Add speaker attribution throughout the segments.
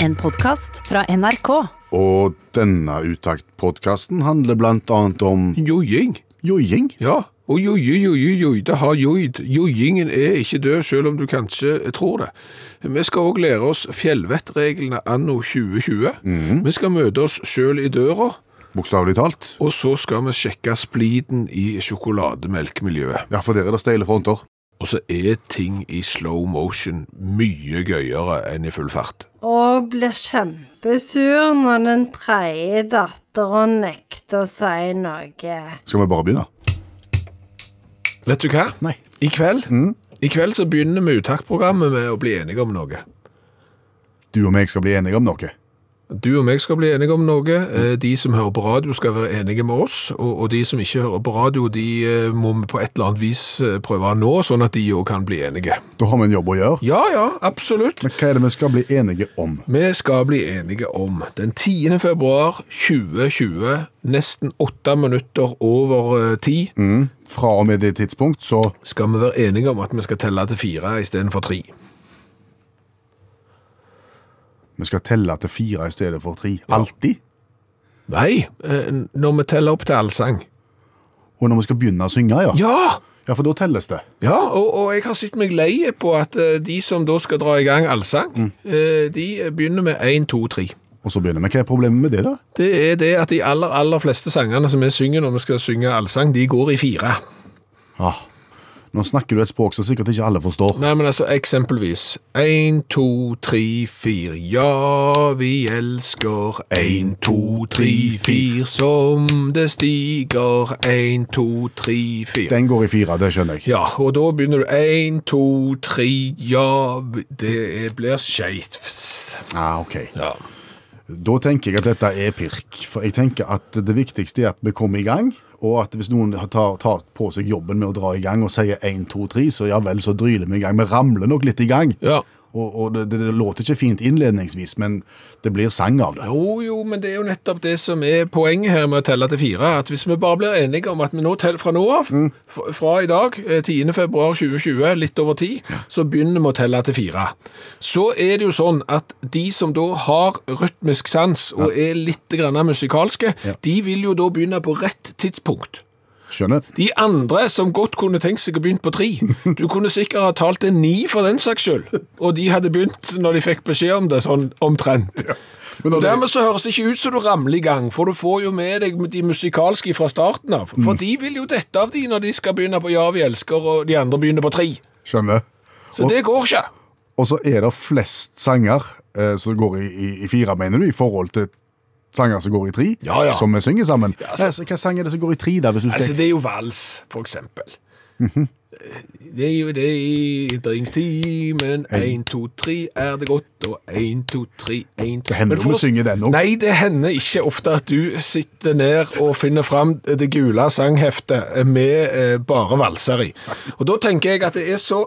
Speaker 1: En podkast fra NRK.
Speaker 2: Og denne Utakt-podkasten handler blant annet om
Speaker 3: Joing.
Speaker 2: joiing.
Speaker 3: Ja. Og joje, joje, joje, det har joid. Joingen er ikke død, selv om du kanskje tror det. Vi skal òg lære oss fjellvettreglene anno 2020. Vi skal møte oss sjøl i døra,
Speaker 2: Bokstavelig talt.
Speaker 3: og så skal vi sjekke spliden i sjokolademelkmiljøet.
Speaker 2: Ja, for der er det steile fronter.
Speaker 3: Og så er ting i slow motion mye gøyere enn i full fart.
Speaker 4: og blir kjempesur når den tredje datteren nekter å si noe.
Speaker 2: Skal vi bare begynne?
Speaker 3: Vet du hva?
Speaker 2: Nei.
Speaker 3: I kveld, I kveld så begynner vi uttaktprogrammet med å bli enige om noe.
Speaker 2: Du og meg skal bli enige om noe.
Speaker 3: Du og meg skal bli enige om noe. Eh, De som hører på radio skal være enige med oss, og, og de som ikke hører på radio, de eh, må vi på et eller annet vis eh, prøve å nå, sånn at de òg kan bli enige.
Speaker 2: Da har vi en jobb å gjøre.
Speaker 3: Ja, ja, absolutt.
Speaker 2: Men hva er det vi skal bli enige om?
Speaker 3: Vi skal bli enige om den 10. februar 2020, nesten åtte minutter over eh, ti,
Speaker 2: Mm. Fra og med det tidspunkt, så
Speaker 3: skal vi være enige om at vi skal telle til fire istedenfor tre.
Speaker 2: vi skal telle til fire i stedet for tre. Alltid.
Speaker 3: Nei, eh, når vi teller opp til allsang.
Speaker 2: Og når vi skal begynne å synge, ja.
Speaker 3: Ja!
Speaker 2: Ja, for da telles det.
Speaker 3: Ja, og, og jeg har sett meg lei på at eh, de som da skal dra i gang allsang, eh, de begynner med 1, 2, 3.
Speaker 2: Og så begynner vi. Hva er problemet med det, da?
Speaker 3: Det er det at de aller, aller fleste sangene som vi synger når vi skal synge allsang, de går i fire.
Speaker 2: Ah. Nå snakker du et språk som sikkert ikke alle forstår.
Speaker 3: Nei, men altså, eksempelvis 1, 2, 3, 4 Ja, vi elsker 1, 2, 3, 4 Som det stiger 1, 2, 3, 4
Speaker 2: Den går i fire, det skjønner jeg.
Speaker 3: Ja, og da begynner du 1, 2, 3, ja, det blir skjevt.
Speaker 2: Ah, ok.
Speaker 3: Ja.
Speaker 2: Da tenker jeg at dette er pirk. For jeg tenker at det viktigste er at vi kommer i gang. Og at hvis noen tar, tar på seg jobben med å dra i gang og sier 1, 2, 3, så ja vel, så dryler vi i gang. Vi ramler nok litt i gang.
Speaker 3: ja.
Speaker 2: Og, og det, det, det låter ikke fint innledningsvis, men det blir sang av det.
Speaker 3: Jo, jo, men det er jo nettopp det som er poenget her med å telle til fire. At hvis vi bare blir enige om at vi nå teller fra nå av, f- fra i dag, eh, 10. februar 2020, litt over ti, så begynner vi å telle til fire. Så er det jo sånn at de som da har rytmisk sans og er litt grann musikalske, de vil jo da begynne på rett tidspunkt.
Speaker 2: Skjønner?
Speaker 3: De andre som godt kunne tenkt seg å begynne på tre. Du kunne sikkert ha talt til ni for den saks skyld. Og de hadde begynt når de fikk beskjed om det, sånn omtrent.
Speaker 2: Men
Speaker 3: Og
Speaker 2: når det,
Speaker 3: dermed så høres det ikke ut som du ramler i gang, for du får jo med deg de musikalske fra starten av. For de vil jo dette av de når de skal begynne på Ja, vi elsker, og de andre begynner på tre.
Speaker 2: skjønner.
Speaker 3: Så det går ikke.
Speaker 2: Og så er det flest sanger eh, som går i, i, i fire, mener du, i forhold til sanger som går i tre,
Speaker 3: Ja, ja.
Speaker 2: som vi synger sammen. Nei, så Hva sang er det som går i tre, da? Hvis du skal...
Speaker 3: Altså, det er jo vals, for eksempel. Det er jo det i drinkstimen. Én, to, tre er det godt, og én, to, tre, én
Speaker 2: Det hender jo vi synger den òg.
Speaker 3: Nei, det hender ikke ofte at du sitter ned og finner fram det gule sangheftet med eh, bare valser i. Og da tenker jeg at det er så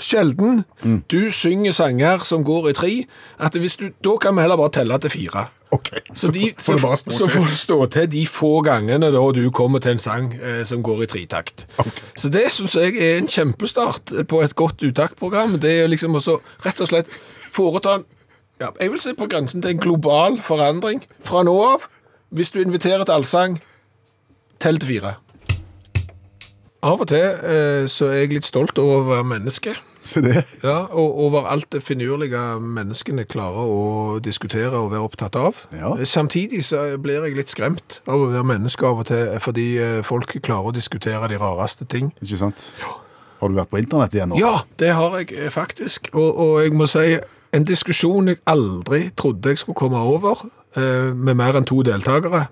Speaker 3: sjelden
Speaker 2: Mm.
Speaker 3: du synger sanger som går i tre, at hvis du, da kan vi heller bare telle til fire.
Speaker 2: Ok,
Speaker 3: Så, de,
Speaker 2: får
Speaker 3: så,
Speaker 2: det bare
Speaker 3: så,
Speaker 2: stå
Speaker 3: får det stå til de få gangene da du kommer til en sang eh, som går i tritakt. Så det syns jeg er en kjempestart på et godt uttaktprogram. Det er liksom også rett og slett foreta en ja, Jeg vil si på grensen til en global forandring. Fra nå av, hvis du inviterer til allsang, tell til fire. Av og til eh, så er jeg litt stolt over å være menneske.
Speaker 2: Se det.
Speaker 3: Ja, og over alt det finurlige menneskene klarer å diskutere og være opptatt av.
Speaker 2: Ja.
Speaker 3: Samtidig så blir jeg litt skremt av å være menneske av og til, fordi eh, folk klarer å diskutere de rareste ting.
Speaker 2: Ikke sant? Har du vært på internett igjen nå?
Speaker 3: Ja, det har jeg eh, faktisk, og, og jeg må si en diskusjon jeg aldri trodde jeg skulle komme over, eh, med mer enn to deltakere,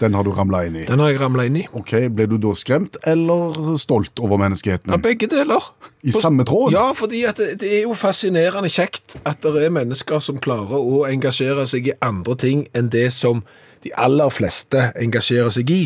Speaker 2: Den har du ramla inn i.
Speaker 3: den har jeg ramlet inn i.
Speaker 2: Ok, Ble du da skremt eller stolt over
Speaker 3: Ja,
Speaker 2: menneskeheten?
Speaker 3: begge deler.
Speaker 2: I samme tråd?
Speaker 3: Ja, fordi at det, det er jo fascinerende kjekt at det er mennesker som klarer å engasjere seg i andre ting enn det som de aller fleste engasjerer seg i.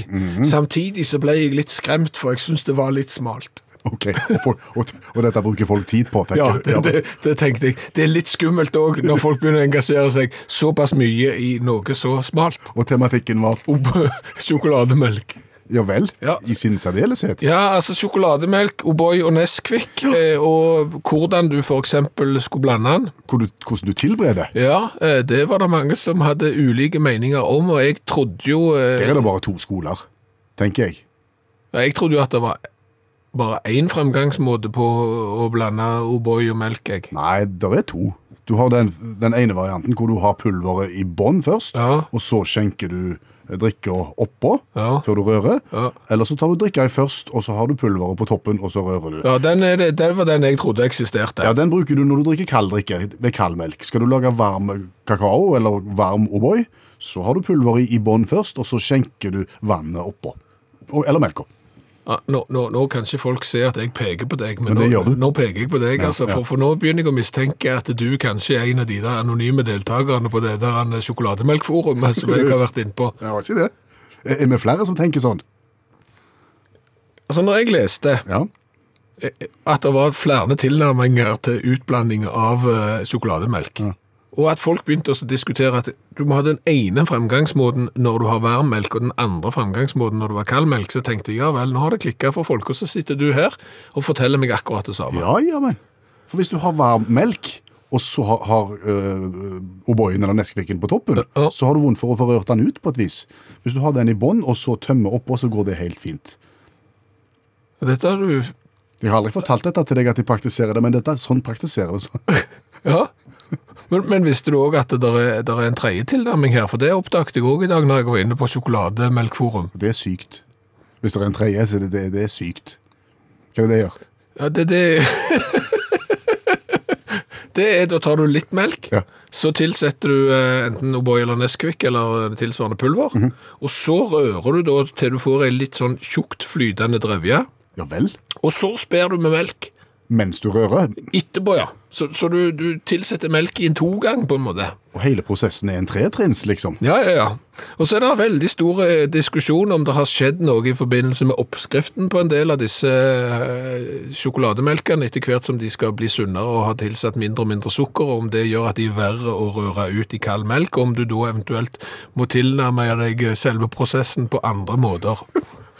Speaker 3: Samtidig så ble jeg litt skremt, for jeg syns det var litt smalt.
Speaker 2: Ok, og, folk, og, og dette bruker folk tid på, tenker
Speaker 3: Ja,
Speaker 2: du? Ja,
Speaker 3: det, det, det tenkte jeg. Det er litt skummelt òg, når folk begynner å engasjere seg såpass mye i noe så smalt.
Speaker 2: Og tematikken var
Speaker 3: Om sjokolademelk.
Speaker 2: Ja vel?
Speaker 3: Ja.
Speaker 2: I sin særdeleshet?
Speaker 3: Ja, altså sjokolademelk, O'boy og Nesquik, eh, og hvordan du for eksempel skulle blande den.
Speaker 2: Hvor du- Hvordan du tilbereder?
Speaker 3: Ja, eh, det var det mange som hadde ulike meninger om, og jeg trodde jo eh,
Speaker 2: Der er det bare to skoler, tenker jeg.
Speaker 3: Ja, Jeg trodde jo at det var bare én fremgangsmåte på å blande O'boy og melk, jeg.
Speaker 2: Nei, det er to. Du har den, den ene varianten hvor du har pulveret i bånn først,
Speaker 3: Ja.
Speaker 2: og så skjenker du drikka oppå
Speaker 3: Ja.
Speaker 2: før du rører.
Speaker 3: Ja.
Speaker 2: Eller så tar du drikka i først, og så har du pulveret på toppen, og så rører du. Ja.
Speaker 3: Ja, den, er det, den var den jeg trodde eksisterte.
Speaker 2: Den bruker du når du drikker kald drikke ved kald melk. Skal du lage varm kakao eller varm O'boy, så har du pulveret i bånn først, og så skjenker du vannet oppå. Og- Eller melka.
Speaker 3: Ja, nå, nå, nå kan ikke folk se at jeg peker på deg, men,
Speaker 2: Men det
Speaker 3: nå,
Speaker 2: gjør du.
Speaker 3: nå peker jeg på deg. altså,
Speaker 2: ja.
Speaker 3: for, for nå begynner jeg å mistenke at du kanskje er en av de der anonyme deltakerne på det der eh, sjokolademelkforumet som jeg har vært innpå.
Speaker 2: Det var ikke det. Er er vi flere som tenker sånn?
Speaker 3: Altså, når jeg leste
Speaker 2: Ja.
Speaker 3: at det var flere tilnærminger til utblanding av eh, sjokolademelk, og at folk begynte å diskutere at du må ha den ene fremgangsmåten når du har varm melk, og den andre fremgangsmåten når du har kald melk, så tenkte jeg ja vel, nå har det klikka for folk, og så sitter du her og forteller meg akkurat det samme.
Speaker 2: Ja, ja, men. For hvis du har varm melk, og så har, har øh, O'boyen eller Nesquiken på toppen,
Speaker 3: Ja.
Speaker 2: så har du vondt for å få rørt den ut på et vis. Hvis du har den i bånn, og så tømmer oppå, så går det helt fint.
Speaker 3: Dette har du
Speaker 2: Jeg har aldri fortalt dette til deg at de praktiserer det, men dette, sånn praktiserer vi sånn.
Speaker 3: Ja. Men, men visste du òg at det der er, der er en tredje tilnærming her? For det oppdaget jeg òg i dag når jeg var inne på sjokolademelkforum.
Speaker 2: Det er sykt. Hvis det er en tredje, så er det, det, det er sykt. Hva er det det gjør?
Speaker 3: Ja, det, det Det er da tar du litt melk,
Speaker 2: Ja.
Speaker 3: så tilsetter du eh, enten O'boy eller Nesquik eller eh, tilsvarende pulver. Og så rører du da til du får ei litt sånn tjukt flytende drevje.
Speaker 2: Ja vel,
Speaker 3: Og så sper du med melk
Speaker 2: mens du rører,
Speaker 3: etterpå, ja. Så, så du, du tilsetter melk i en togang, på en måte.
Speaker 2: og hele prosessen er en tretrinns, liksom.
Speaker 3: Ja, ja, ja. Og så er det en veldig stor eh, diskusjon om det har skjedd noe i forbindelse med oppskriften på en del av disse eh, sjokolademelkene, etter hvert som de skal bli sunnere og ha tilsatt mindre og mindre sukker, og om det gjør at de er verre å røre ut i kald melk, og om du da eventuelt må tilnærme deg eh, selve prosessen på andre måter.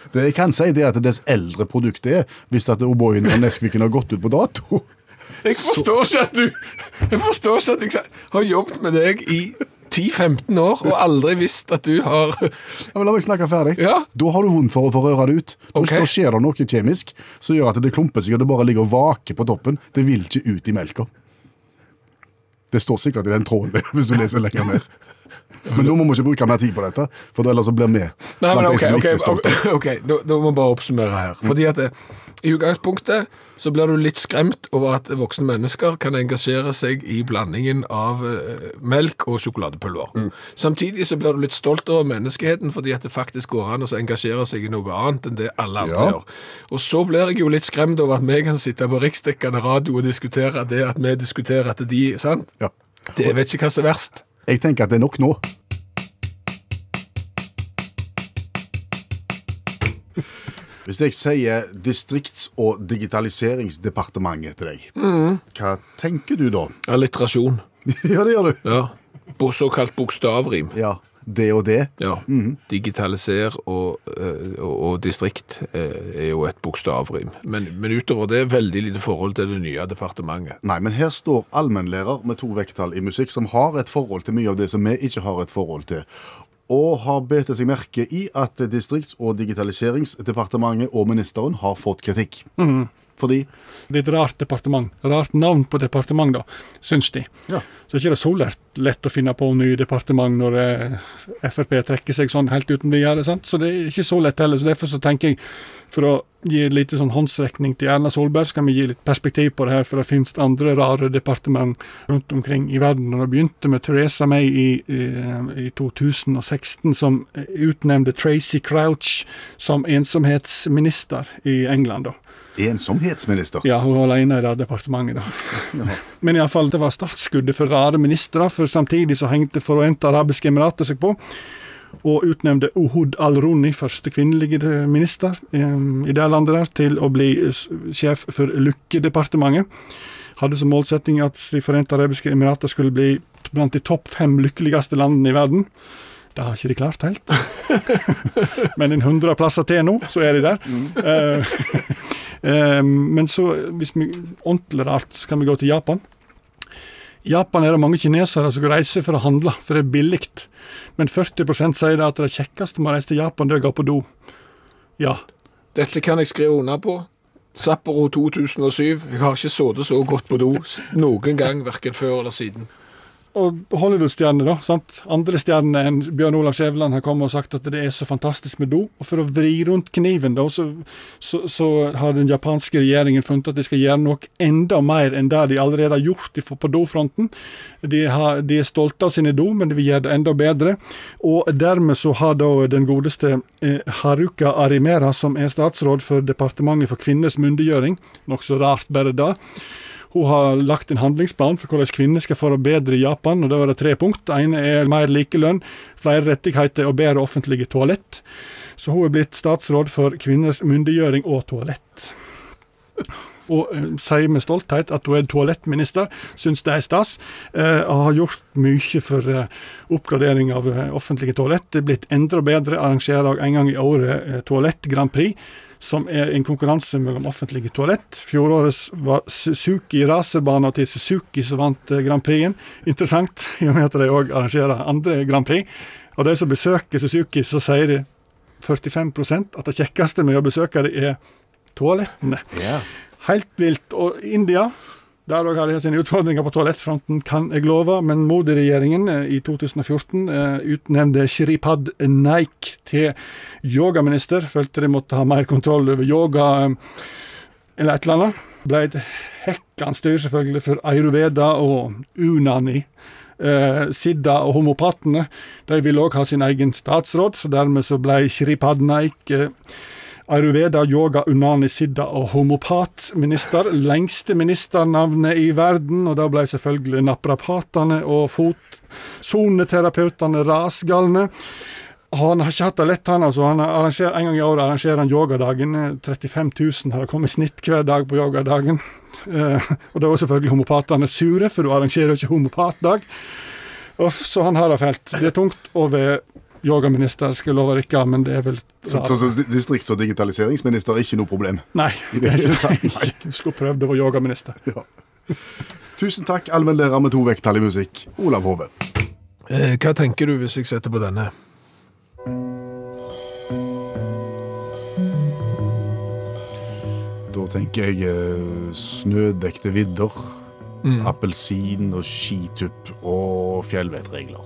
Speaker 2: Det jeg kan si det er at dess eldre produktet er, hvis at O'boyen og Nesquiken har gått ut på dato.
Speaker 3: Jeg forstår ikke at du Jeg forstår ikke at jeg sa- har jobbet med deg i 10-15 år og aldri visst at du har
Speaker 2: Ja, men La meg snakke ferdig.
Speaker 3: Ja.
Speaker 2: Da har du vondt for å få røre det ut. Da,
Speaker 3: Ok.
Speaker 2: da skjer det noe kjemisk som gjør at det klumper seg, og det bare ligger og vaker på toppen. Det vil ikke ut i melka. Det står sikkert i den tråden der, hvis du leser lenger ned. Men nå må vi ikke bruke mer tid på dette, for ellers så blir vi
Speaker 3: Nei, men
Speaker 2: blant de
Speaker 3: ok,
Speaker 2: som
Speaker 3: ok,
Speaker 2: ikke er stolte.
Speaker 3: ok, ok, nå, nå må vi bare oppsummere her. Fordi at eh, I utgangspunktet så blir du litt skremt over at voksne mennesker kan engasjere seg i blandingen av eh, melk og sjokoladepulver. Samtidig så blir du litt stolt over menneskeheten fordi at det faktisk går an å så engasjere seg i noe annet enn det alle andre
Speaker 2: Ja.
Speaker 3: gjør. Og så blir jeg jo litt skremt over at vi kan sitte på riksdekkende radio og diskutere det at vi diskuterer at de sant?
Speaker 2: Ja.
Speaker 3: Det vet ikke hva som er verst.
Speaker 2: Jeg tenker at det er nok nå. Hvis jeg sier Distrikts- og digitaliseringsdepartementet til deg,
Speaker 3: Mm.
Speaker 2: hva tenker du da?
Speaker 3: Alliterasjon.
Speaker 2: ja, det gjør du.
Speaker 3: Ja. Bo- Såkalt bokstavrim.
Speaker 2: Ja, det og det.
Speaker 3: Ja. Digitaliser og, eh, og, og distrikt eh, er jo et bokstavrim. Men, men utover det er veldig lite forhold til det nye departementet.
Speaker 2: Nei, men her står allmennlærer med to vekttall i musikk, som har et forhold til mye av det som vi ikke har et forhold til. Og har bitt seg merke i at Distrikts- og digitaliseringsdepartementet og ministeren har fått kritikk. Fordi
Speaker 5: Det er et rart departement. Rart navn på departement, da, syns de.
Speaker 2: Ja.
Speaker 5: Så ikke det er så lett, lett å finne på nye departement når eh, Frp trekker seg sånn helt uten videre. sant? Så det er ikke så lett heller. så Derfor så tenker jeg, for å gi litt sånn håndsrekning til Erna Solberg, så kan vi gi litt perspektiv på det her, for det finnes andre rare departement rundt omkring i verden. Og det begynte med Theresa May i, eh, i 2016, som utnevnte Tracy Crouch som ensomhetsminister i England. da.
Speaker 2: ensomhetsminister
Speaker 5: Ja, hun var alene i det departementet, da. Men iallfall, det var startskuddet for rare ministre, for samtidig så hengte Forente arabiske emirater seg på. Og utnevnte Uhud al-Roni, første kvinnelige eh, minister eh, i det landet der, til å bli eh, s- sjef for Lykkedepartementet. Hadde som målsetting at De forente arabiske emirater skulle bli t- blant de topp fem lykkeligste landene i verden. Det har ikke de klart helt. Men en hundre plasser til nå, så er de der. Eh, eh, Men så, hvis vi ordentlig rart, så kan vi gå til Japan. I Japan er det mange kinesere som reiser for å handle, for det er billig. Men 40 sier det at det kjekkeste med å reise til Japan, det er å gå på do. Ja.
Speaker 3: Dette kan jeg skrive under på. Sapporo 2007. Jeg har ikke sittet så godt på do noen gang, verken før eller siden.
Speaker 5: Og Hollywood-stjerner, da. sant? Andre stjerner enn Bjørn Olav Skjæveland har kommet og sagt at det er så fantastisk med do. Og for å vri rundt kniven, da, så, så, så har den japanske regjeringen funnet at de skal gjøre noe enda mer enn det de allerede har gjort i- på dofronten. De, har, de er stolte av sine do, men de vil gjøre det enda bedre. Og dermed så har da den godeste eh, Haruka Arimera, som er statsråd for Departementet for kvinners myndiggjøring, nokså rart bare det, hun har lagt en handlingsplan for hvordan kvinner skal få det bedre i Japan, og da er det tre punkt. Det ene er mer likelønn, flere rettigheter og bedre offentlige toalett. Så hun er blitt statsråd for kvinners myndiggjøring og toalett. Og eh, sier med stolthet at hun er toalettminister, syns det er stas. eh, og har gjort mye for eh, oppgradering av eh, offentlige toalett. Det er blitt enda bedre, arrangerer en gang i året eh, Toalett Grand Prix som er en konkurranse mellom offentlige toalett. Fjorårets var Suzuki raserbana til Suzuki som vant eh, Grand Prix-en. Interessant, i og med at de òg arrangerer andre Grand Prix. Og de som besøker Suzuki, så sier de 45 at det kjekkeste med å besøke dem er toalettene. Helt vilt. Og India der òg har de sine utfordringer på toalettfronten, kan jeg love. Men Modi-regjeringen eh, i 2014 eh, utnevnte Shripad Naik til yogaminister. Følte de måtte ha mer kontroll over yoga eh, eller et eller annet. Ble et hekkende styr selvfølgelig for ayurveda og unani. Eh, Siddha og homopatene de ville òg ha sin egen statsråd, så dermed så ble Shripad Naik eh, Ayurveda, yoga, unani, siddha og homopatminister. Lengste ministernavnet i verden, og da ble selvfølgelig naprapatene og fotsoneterapeutene rasgalne. Han har ikke hatt det lett, han altså. Han arrangerer, en gang i året arrangerer han yogadagen. 35 000 har det kommet i snitt hver dag på yogadagen. Eh, og da er selvfølgelig homopatene sure, for du arrangerer jo ikke homopatdag. Uff, så han har det fælt. Det er tungt å være yogaminister, skal jeg love dere, men det er vel
Speaker 2: Så, så, så distrikts- og digitaliseringsminister er ikke noe problem.
Speaker 5: Nei.
Speaker 2: I det hele tatt, nei.
Speaker 5: Du skulle prøvd å være yogaminister.
Speaker 2: Ja. Tusen takk, allmennlærer med to vekttall i musikk, Olav Hove.
Speaker 3: Eh, Hva tenker du hvis jeg setter på denne?
Speaker 2: Da tenker jeg eh, snødekte vidder, Mm. appelsin og skitupp og fjellvettregler.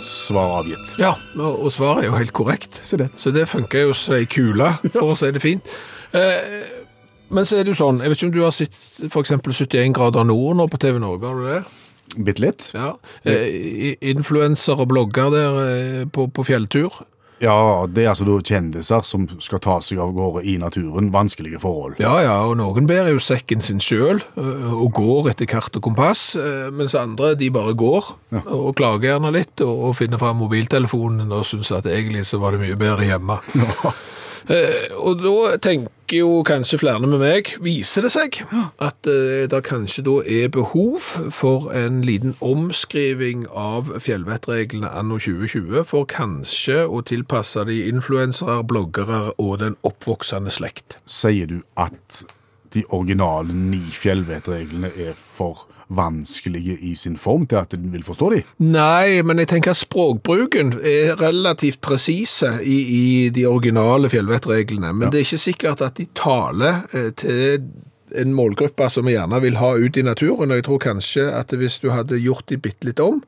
Speaker 2: Svar avgitt.
Speaker 3: Ja, og og svaret er jo helt korrekt.
Speaker 2: Se det.
Speaker 3: Så det funker jo som ei kule, for å si det fint. Eh, men så er det jo sånn, jeg vet ikke om du har sett f.eks. 71 grader nord nå på TV Norge, har du det?
Speaker 2: Bitte litt.
Speaker 3: Ja. Eh, i- Influenser og blogger der eh, på, på fjelltur.
Speaker 2: Ja, det er altså da kjendiser som skal ta seg av gårde i naturen. Vanskelige forhold.
Speaker 3: Ja, ja, og noen bærer jo sekken sin sjøl eh, og går etter kart og kompass, eh, mens andre de bare går og klager gjerne litt og, og finner fram mobiltelefonen og syns at egentlig så var det mye bedre hjemme. Eh, Og da tenker jo kanskje flere med meg, viser det seg, at eh, det kanskje da er behov for en liten omskriving av fjellvettreglene anno 2020, for kanskje å tilpasse de influensere, bloggere og den oppvoksende slekt.
Speaker 2: Sier du at de originale ni fjellvettreglene er for vanskelige i sin form til at en vil forstå de?
Speaker 3: Nei, men jeg tenker at språkbruken er relativt presise i, i de originale fjellvettreglene. Men det er ikke sikkert at de taler eh, til en målgruppe som vi gjerne vil ha ut i naturen. Og jeg tror kanskje at hvis du hadde gjort de bitte litt om,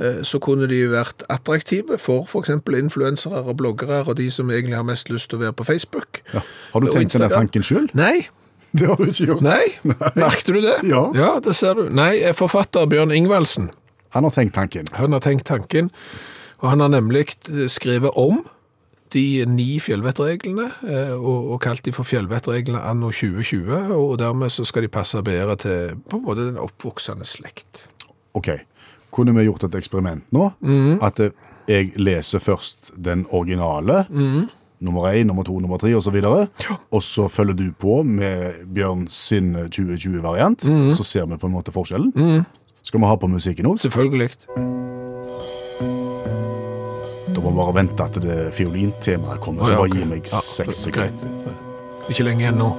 Speaker 3: eh, så kunne de vært attraktive for f.eks. influensere og bloggere og de som egentlig har mest lyst til å være på Facebook.
Speaker 2: Ja. Har du
Speaker 3: Og
Speaker 2: tenkt den der
Speaker 3: Instagram.
Speaker 2: tanken sjøl?
Speaker 3: Nei,
Speaker 2: Det har du ikke gjort.
Speaker 3: nei, merkte du det?
Speaker 2: Ja.
Speaker 3: ja, det ser du. Nei, forfatter Bjørn Ingvaldsen.
Speaker 2: Han har tenkt tanken.
Speaker 3: Han har tenkt tanken, og han har nemlig skrevet om de ni fjellvettreglene, eh, og, og kalt de for fjellvettreglene anno 2020, og dermed så skal de passe bedre til på en måte den oppvoksende slekt.
Speaker 2: OK, kunne vi gjort et eksperiment nå?
Speaker 3: Mhm.
Speaker 2: At eh, jeg leser først den originale.
Speaker 3: Mhm.
Speaker 2: Nummer én, nummer to, nummer tre osv. Og så følger
Speaker 3: Mhm.
Speaker 2: du på med Bjørn sin 2020-variant. Så ser vi på en måte forskjellen. Skal vi ha på musikken òg?
Speaker 3: Selvfølgelig.
Speaker 2: Da må vi bare vente at det fiolintemaet kommer. Så
Speaker 3: Å, ja,
Speaker 2: bare
Speaker 3: ok.
Speaker 2: gi meg
Speaker 3: Ja,
Speaker 2: seks
Speaker 3: ok.
Speaker 2: sekunder.
Speaker 3: Ikke lenge igjen nå.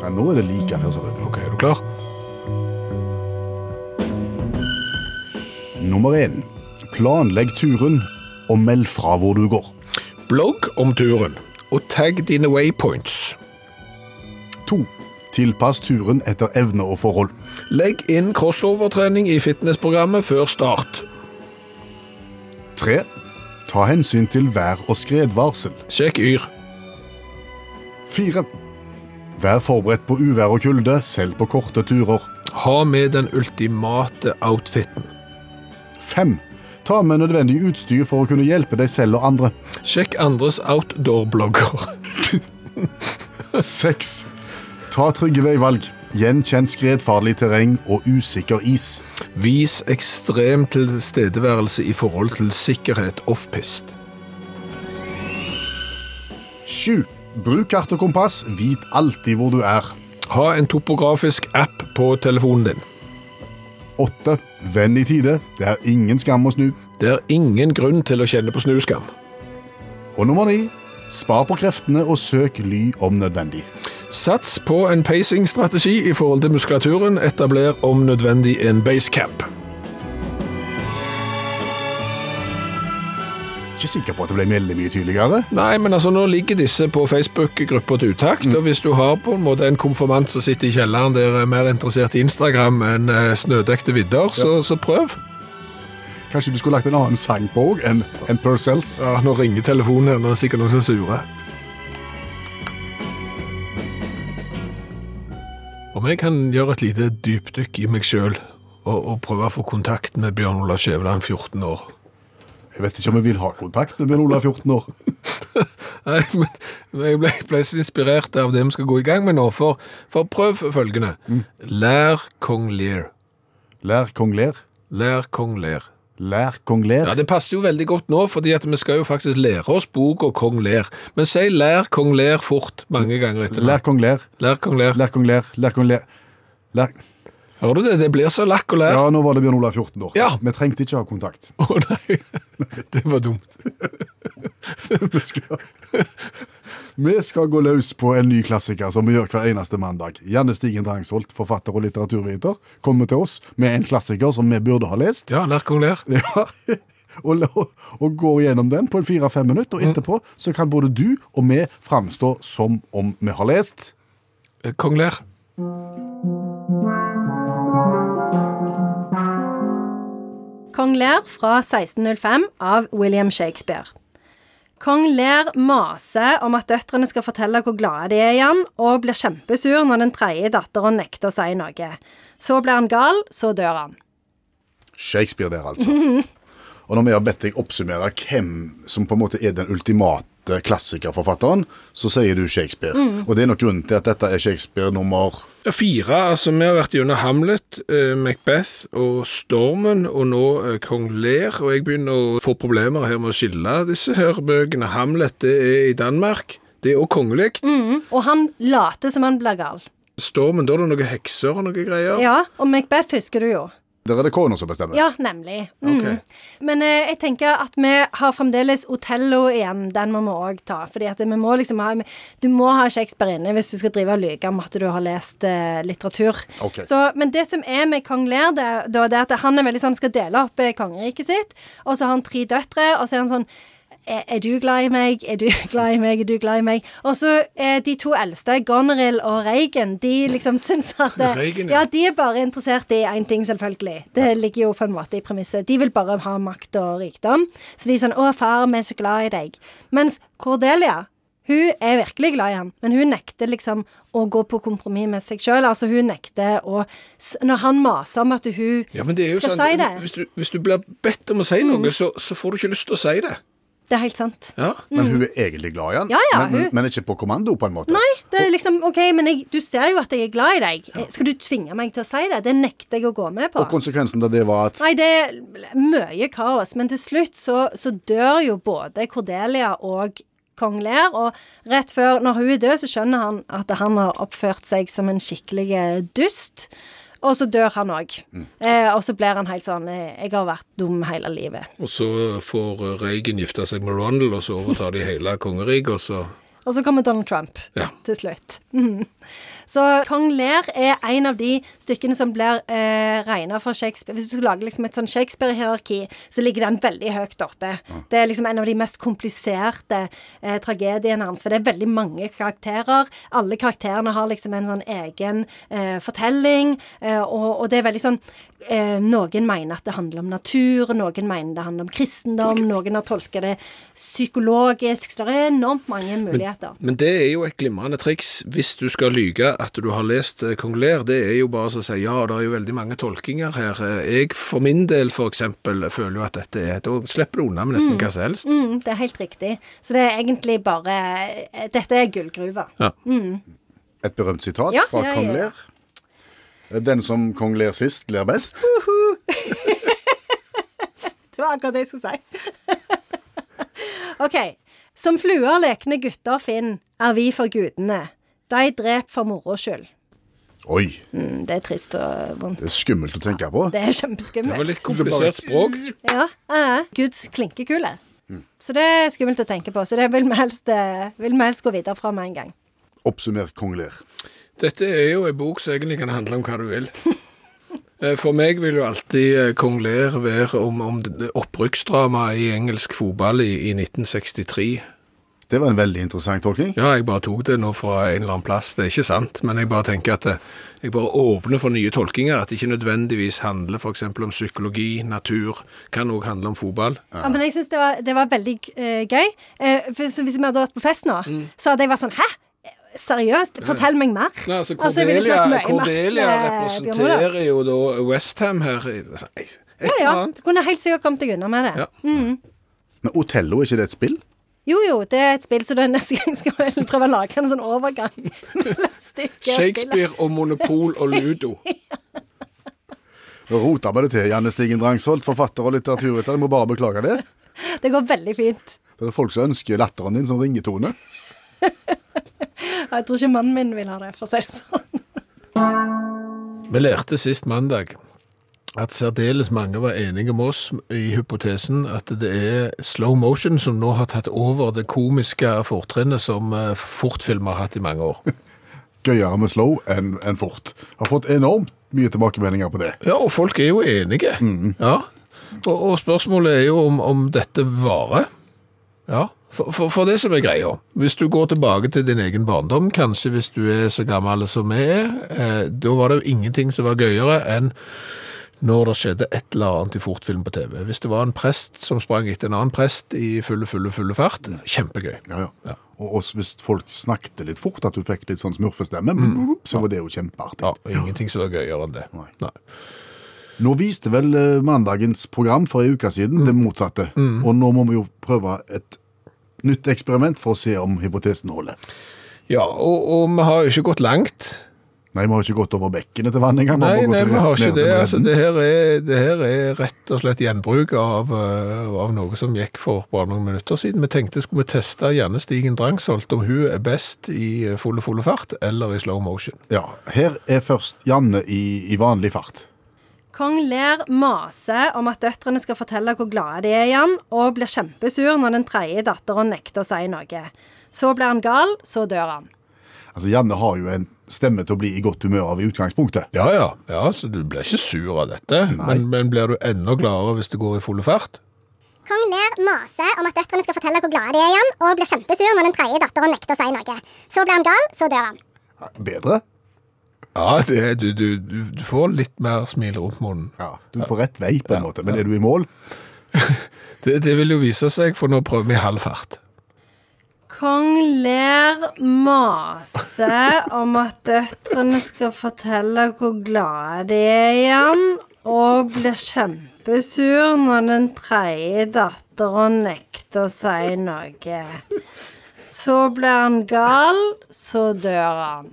Speaker 2: Ja, nå er det like før, ser du.
Speaker 3: Ok, er du klar?
Speaker 2: Nummer én. Planlegg turen, og meld fra hvor du går.
Speaker 3: Blogg om turen, og tagg dine waypoints.
Speaker 2: To. Tilpass turen etter evne og forhold.
Speaker 3: Legg inn crossover-trening i fitnessprogrammet før start.
Speaker 2: Tre. Ta hensyn til vær- og skredvarsel.
Speaker 3: Sjekk Yr.
Speaker 2: Fire. Vær forberedt på uvær og kulde, selv på korte turer.
Speaker 3: Ha med den ultimate outfiten.
Speaker 2: Fem. Ta med nødvendig utstyr for å kunne hjelpe deg selv og andre.
Speaker 3: Sjekk andres outdoor-blogger.
Speaker 2: Seks. Ta trygge veivalg. Gjenkjenn skredfarlig terreng og usikker is.
Speaker 3: Vis ekstrem tilstedeværelse i forhold til sikkerhet off-pist.
Speaker 2: Sju. Bruk kart og kompass. Vit alltid hvor du er.
Speaker 3: Ha en topografisk app på telefonen din.
Speaker 2: Åtte. Vend i tide. Det er ingen skam å snu.
Speaker 3: Det er ingen grunn til å kjenne på snuskam.
Speaker 2: Og nummer ni. Spar på kreftene og søk ly om nødvendig.
Speaker 3: Sats på en pacing-strategi i forhold til muskulaturen. Etabler om nødvendig en basecamp.
Speaker 2: Ikke sikker på at det ble veldig mye tydeligere.
Speaker 3: Nei, men altså, nå ligger disse på Facebook-grupper til utakt, og hvis du har på en måte en konfirmant som sitter i kjelleren der er mer interessert i Instagram enn eh, snødekte vidder, så, så prøv.
Speaker 2: Kanskje du skulle lagt en annen sang på òg enn enn Purcells?
Speaker 3: Ja, nå ringer telefonen her, nå er det sikkert noen som er sure. Om jeg kan gjøre et lite dypdykk i meg sjøl og, og prøve å få kontakt med Bjørn Olav Skjæveland, 14 år
Speaker 2: Jeg vet ikke om jeg vil ha kontakt med Bjørn Olav 14 år.
Speaker 3: Nei, men men jeg ble, ble så inspirert av det vi skal gå i gang med nå, for, for prøv følgende. Lær kong Lear.
Speaker 2: Lær kong ler.
Speaker 3: Lær kong Lear.
Speaker 2: Lær kong ler.
Speaker 3: Ja, Det passer jo veldig godt nå, fordi at vi skal jo faktisk lære oss boka Kong Lear. Men si lær kong Lear fort mange ganger etter.
Speaker 2: Lær kong ler.
Speaker 3: lær kong Lear.
Speaker 2: Lær kong ler. Lær kong ler. Lær.
Speaker 3: Hører du det? Det blir så lakk og lær.
Speaker 2: Ja, nå var det Bjørn Olav 14 år.
Speaker 3: Ja.
Speaker 2: Vi trengte ikke ha kontakt.
Speaker 3: Å nei, det var dumt.
Speaker 2: Vi skal, vi skal gå løs på en ny klassiker som vi gjør hver eneste mandag. Janne Stigen Drangsholt, forfatter og litteraturviter, kommer til oss med en klassiker som vi burde ha lest.
Speaker 3: Ja, lær kong Lear.
Speaker 2: Ja. Og, la- og går gjennom den på en fire-fem minutter, og etterpå så kan både du og vi framstå som om vi har lest.
Speaker 3: Eh, Kong Lear.
Speaker 4: Kong Lear fra 1605 av William Shakespeare. Kong Lear maser om at døtrene skal fortelle hvor glade de er i han, og blir kjempesur når den tredje datteren nekter å si noe. Så blir han gal, så dør han.
Speaker 2: Shakespeare der, altså. Og når vi har bedt deg oppsummere hvem som på en måte er den ultimate klassikerforfatteren, så sier du Shakespeare.
Speaker 4: Mm.
Speaker 2: Og det er nok grunnen til at dette er Shakespeare nummer
Speaker 3: Ja, Fire. altså Vi har vært gjennom Hamlet, eh, Macbeth og Stormen, og nå eh, Kong Lear. Og jeg begynner å få problemer her med å skille disse her bøkene. Hamlet det er i Danmark. Det er òg kongelig.
Speaker 4: Og han later som han blir gal.
Speaker 3: Stormen, da er det noen hekser og noen greier.
Speaker 4: Ja, og Macbeth husker du jo.
Speaker 2: Der er det kona som bestemmer.
Speaker 4: Ja, nemlig. Mm.
Speaker 3: Ok.
Speaker 4: Men eh, jeg tenker at vi har fremdeles Otello igjen. Den må vi òg ta. Fordi at vi må liksom ha Du må ha Shakespeare inne hvis du skal drive og lyve om at du har lest eh, litteratur.
Speaker 2: Ok.
Speaker 4: Så, men det som er med kong Lear, det, er- da, det er at han er veldig sånn, skal dele opp eh, kongeriket sitt. Og så har han tre døtre, og så er han sånn er, er du glad i meg? Er du glad i meg? Er du glad i meg? Og så eh, de to eldste, Goneril og Reagan, de liksom syns at eh,
Speaker 3: Reagan, ja.
Speaker 4: ja, de er bare interessert i én ting, selvfølgelig. Det ligger jo på en måte i premisset. De vil bare ha makt og rikdom. Så de er sånn 'Å, far, vi er så glad i deg'. Mens Cordelia hun er virkelig glad i han, men hun nekter liksom å gå på kompromiss med seg sjøl. Altså, hun nekter å s- Når han maser om at hun
Speaker 3: Ja, men det er jo
Speaker 4: skal
Speaker 3: sant.
Speaker 4: si det Mm.
Speaker 3: Hvis du, hvis du blir bedt om å si noe, så, så får du ikke lyst til å si det.
Speaker 4: Det er helt sant.
Speaker 3: Ja.
Speaker 2: Men hun er egentlig glad i han.
Speaker 4: Mm. Ja, ja,
Speaker 2: men, men,
Speaker 4: hun-
Speaker 2: men ikke på kommando, på en måte.
Speaker 4: Nei, det er liksom OK, men jeg, du ser jo at jeg er glad i deg. Skal du tvinge meg til å si det? Det nekter jeg å gå med på.
Speaker 2: Og konsekvensen av det var at
Speaker 4: Nei, det er mye kaos, men til slutt så, så dør jo både Cordelia og kong Lear, og rett før, når hun er død, så skjønner han at han har oppført seg som en skikkelig eh, dust. Og så dør han òg. Eh, og så blir han helt sånn eh, Jeg har vært dum hele livet.
Speaker 3: Og så får Reagan gifte seg med Ronald, og så overtar de hele kongeriket, og så
Speaker 4: Og så kommer Donald Trump
Speaker 3: Ja.
Speaker 4: til slutt. Mhm. Så Kong Lear er en av de stykkene som blir eh, regna for Shakespeare Hvis du skal lage liksom et sånn Shakespeare-hierarki, så ligger den veldig høyt oppe. Det er liksom en av de mest kompliserte eh, tragediene hans, for det er veldig mange karakterer. Alle karakterene har liksom en sånn egen eh, fortelling, eh, og, og det er veldig sånn eh, Noen mener at det handler om natur, noen mener det handler om kristendom, noen har tolka det psykologisk, så det er enormt mange muligheter.
Speaker 3: Men det er jo et glimrende triks hvis du skal lyge at du har lest eh, Kong Lear. Det er jo bare å si ja, det er jo veldig mange tolkinger her. Eh, Jeg for min del f.eks. føler jo at dette er Da slipper du unna med nesten hva som helst.
Speaker 4: Mm, det er helt riktig. Så det er egentlig bare eh, Dette er gullgruva.
Speaker 3: Ja.
Speaker 2: Et berømt sitat
Speaker 4: Ja,
Speaker 2: fra
Speaker 4: ja, ja,
Speaker 2: kong
Speaker 4: ja.
Speaker 2: Lear. Den som kong Lear sist, ler best.
Speaker 4: Det var akkurat det jeg skulle si. OK. Som fluer lekne gutter Finn, er vi for gudene. De drep for moro skyld.
Speaker 2: Oi,
Speaker 4: Mm, det er trist og vondt.
Speaker 2: det er skummelt å tenke på.
Speaker 4: Det er
Speaker 3: Det var litt
Speaker 4: kjempeskummelt.
Speaker 3: komplisert språk.
Speaker 4: Ja, ja, ja. Guds klinkekule.
Speaker 3: Mm.
Speaker 4: Så det er skummelt å tenke på. Så det vil vi helst, eh, vil vi helst gå videre fra med en gang.
Speaker 2: Oppsummer kong Lear.
Speaker 3: Dette er jo en bok som egentlig kan handle om hva du vil. Eh, For meg vil jo alltid eh, Kong Lear være om, om det- opprykksdramaet i engelsk fotball i, i 1963.
Speaker 2: Det var en veldig interessant tolkning.
Speaker 3: Ja, jeg bare tok det nå fra en eller annen plass. Det er ikke sant, men jeg bare tenker at eh, jeg bare åpner for nye tolkinger. At det ikke nødvendigvis handler f.eks. om psykologi, natur. Kan òg handle om fotball.
Speaker 4: Ja, men jeg synes det, var- det var veldig eh, gøy. Eh, for, så hvis vi hadde vært på fest nå,
Speaker 3: Mm.
Speaker 4: så hadde jeg vært sånn Hæ? Seriøst? Fortell meg mer.
Speaker 3: Nei, altså
Speaker 4: jeg ville
Speaker 3: Cordelia,
Speaker 4: snakket mye mer
Speaker 3: Cordelia
Speaker 4: med eh, Bjørn Olav.
Speaker 3: representerer jo da Westham her. i- Et
Speaker 4: Ja,
Speaker 3: eller
Speaker 4: ja.
Speaker 3: annet.
Speaker 4: Du kunne helt sikkert kommet deg unna med det.
Speaker 3: Ja.
Speaker 2: Men Otello, er ikke det et spill?
Speaker 4: Jo, jo, det er et spill, så da neste gang skal vi vel prøve å lage en sånn overgang. mellom stykket og spillet.
Speaker 3: Shakespeare og Monopol og Ludo.
Speaker 2: Nå rota vi det til, Janne Stigen Drangsholt, forfatter og litteraturrytter. Jeg må bare beklage det.
Speaker 4: Det går veldig fint.
Speaker 2: Det er folk som ønsker latteren din som ringetone.
Speaker 4: Og jeg tror ikke mannen min vil ha det, for å si det sånn.
Speaker 3: Vi lærte sist mandag at særdeles mange var enige med oss i hypotesen at det er slow motion som nå har tatt over det komiske fortrinnet som eh, fortfilm har hatt i mange år.
Speaker 2: Gøyere med slow enn enn fort. Har fått enormt mye tilbakemeldinger på det.
Speaker 3: Ja, og folk er jo enige. Ja. Og, og spørsmålet er jo om, om dette varer. Ja, for, for, for det som er greia. Hvis du går tilbake til din egen barndom, kanskje hvis du er så gammel som jeg er, eh, da var det jo ingenting som var gøyere enn når det skjedde et eller annet i fortfilm på TV. Hvis det var en prest som sprang etter en annen prest i fulle, fulle, fulle fart, kjempegøy.
Speaker 2: Ja, ja. Og også hvis folk snakket litt fort, at du fikk litt sånn smurfestemme, så var det jo kjempeartig.
Speaker 3: Ja, og ingenting som var gøyere enn det.
Speaker 2: Nei.
Speaker 3: Nei.
Speaker 2: Nå viste vel eh, mandagens program for en uke siden det motsatte.
Speaker 3: Mm.
Speaker 2: Og nå må vi jo prøve et nytt eksperiment for å se om hypotesen holder.
Speaker 3: Ja, og, og vi har jo ikke gått langt.
Speaker 2: Nei, vi har ikke gått over bekken etter vann engang.
Speaker 3: Nei,
Speaker 2: bare gått
Speaker 3: nei, vi
Speaker 2: rett
Speaker 3: har ikke
Speaker 2: ned til
Speaker 3: det. Altså,
Speaker 2: bredden.
Speaker 3: det, her er, det her er rett og slett gjenbruk av, eh, av noe som gikk for bare noen minutter siden. Vi tenkte skulle vi teste Janne Stigen Drangsholt om hun er best i fulle, fulle fart eller i slow motion.
Speaker 2: Ja, Her er først Janne i, i vanlig fart.
Speaker 4: Kong Lear maser om at døtrene skal fortelle hvor glade de er i han, og blir kjempesur når den tredje datteren nekter å si noe. Så blir han gal, så dør han.
Speaker 2: Altså, Janne har jo en stemme til å bli i godt humør av i utgangspunktet.
Speaker 3: Ja, ja. ja så du blir ikke sur av dette, men, men blir du enda gladere hvis det går i fulle fart?
Speaker 6: Kong Lear maser om at døtrene skal fortelle hvor glade de er i ham, og blir kjempesur når den tredje datteren nekter å si noe. Så blir han gal, så dør han.
Speaker 2: Bedre?
Speaker 3: Ja, det, du, du, du- du får litt mer smil rundt munnen.
Speaker 2: Ja. Du er på rett vei, på en måte. Men er du i mål?
Speaker 3: Det, det vil jo vise seg, for nå prøver vi i halv fart.
Speaker 4: Kong Lear maser om at døtrene skal fortelle hvor glade de er i ham, og blir kjempesur når den tredje datteren nekter å si noe. Så blir han gal, så dør han.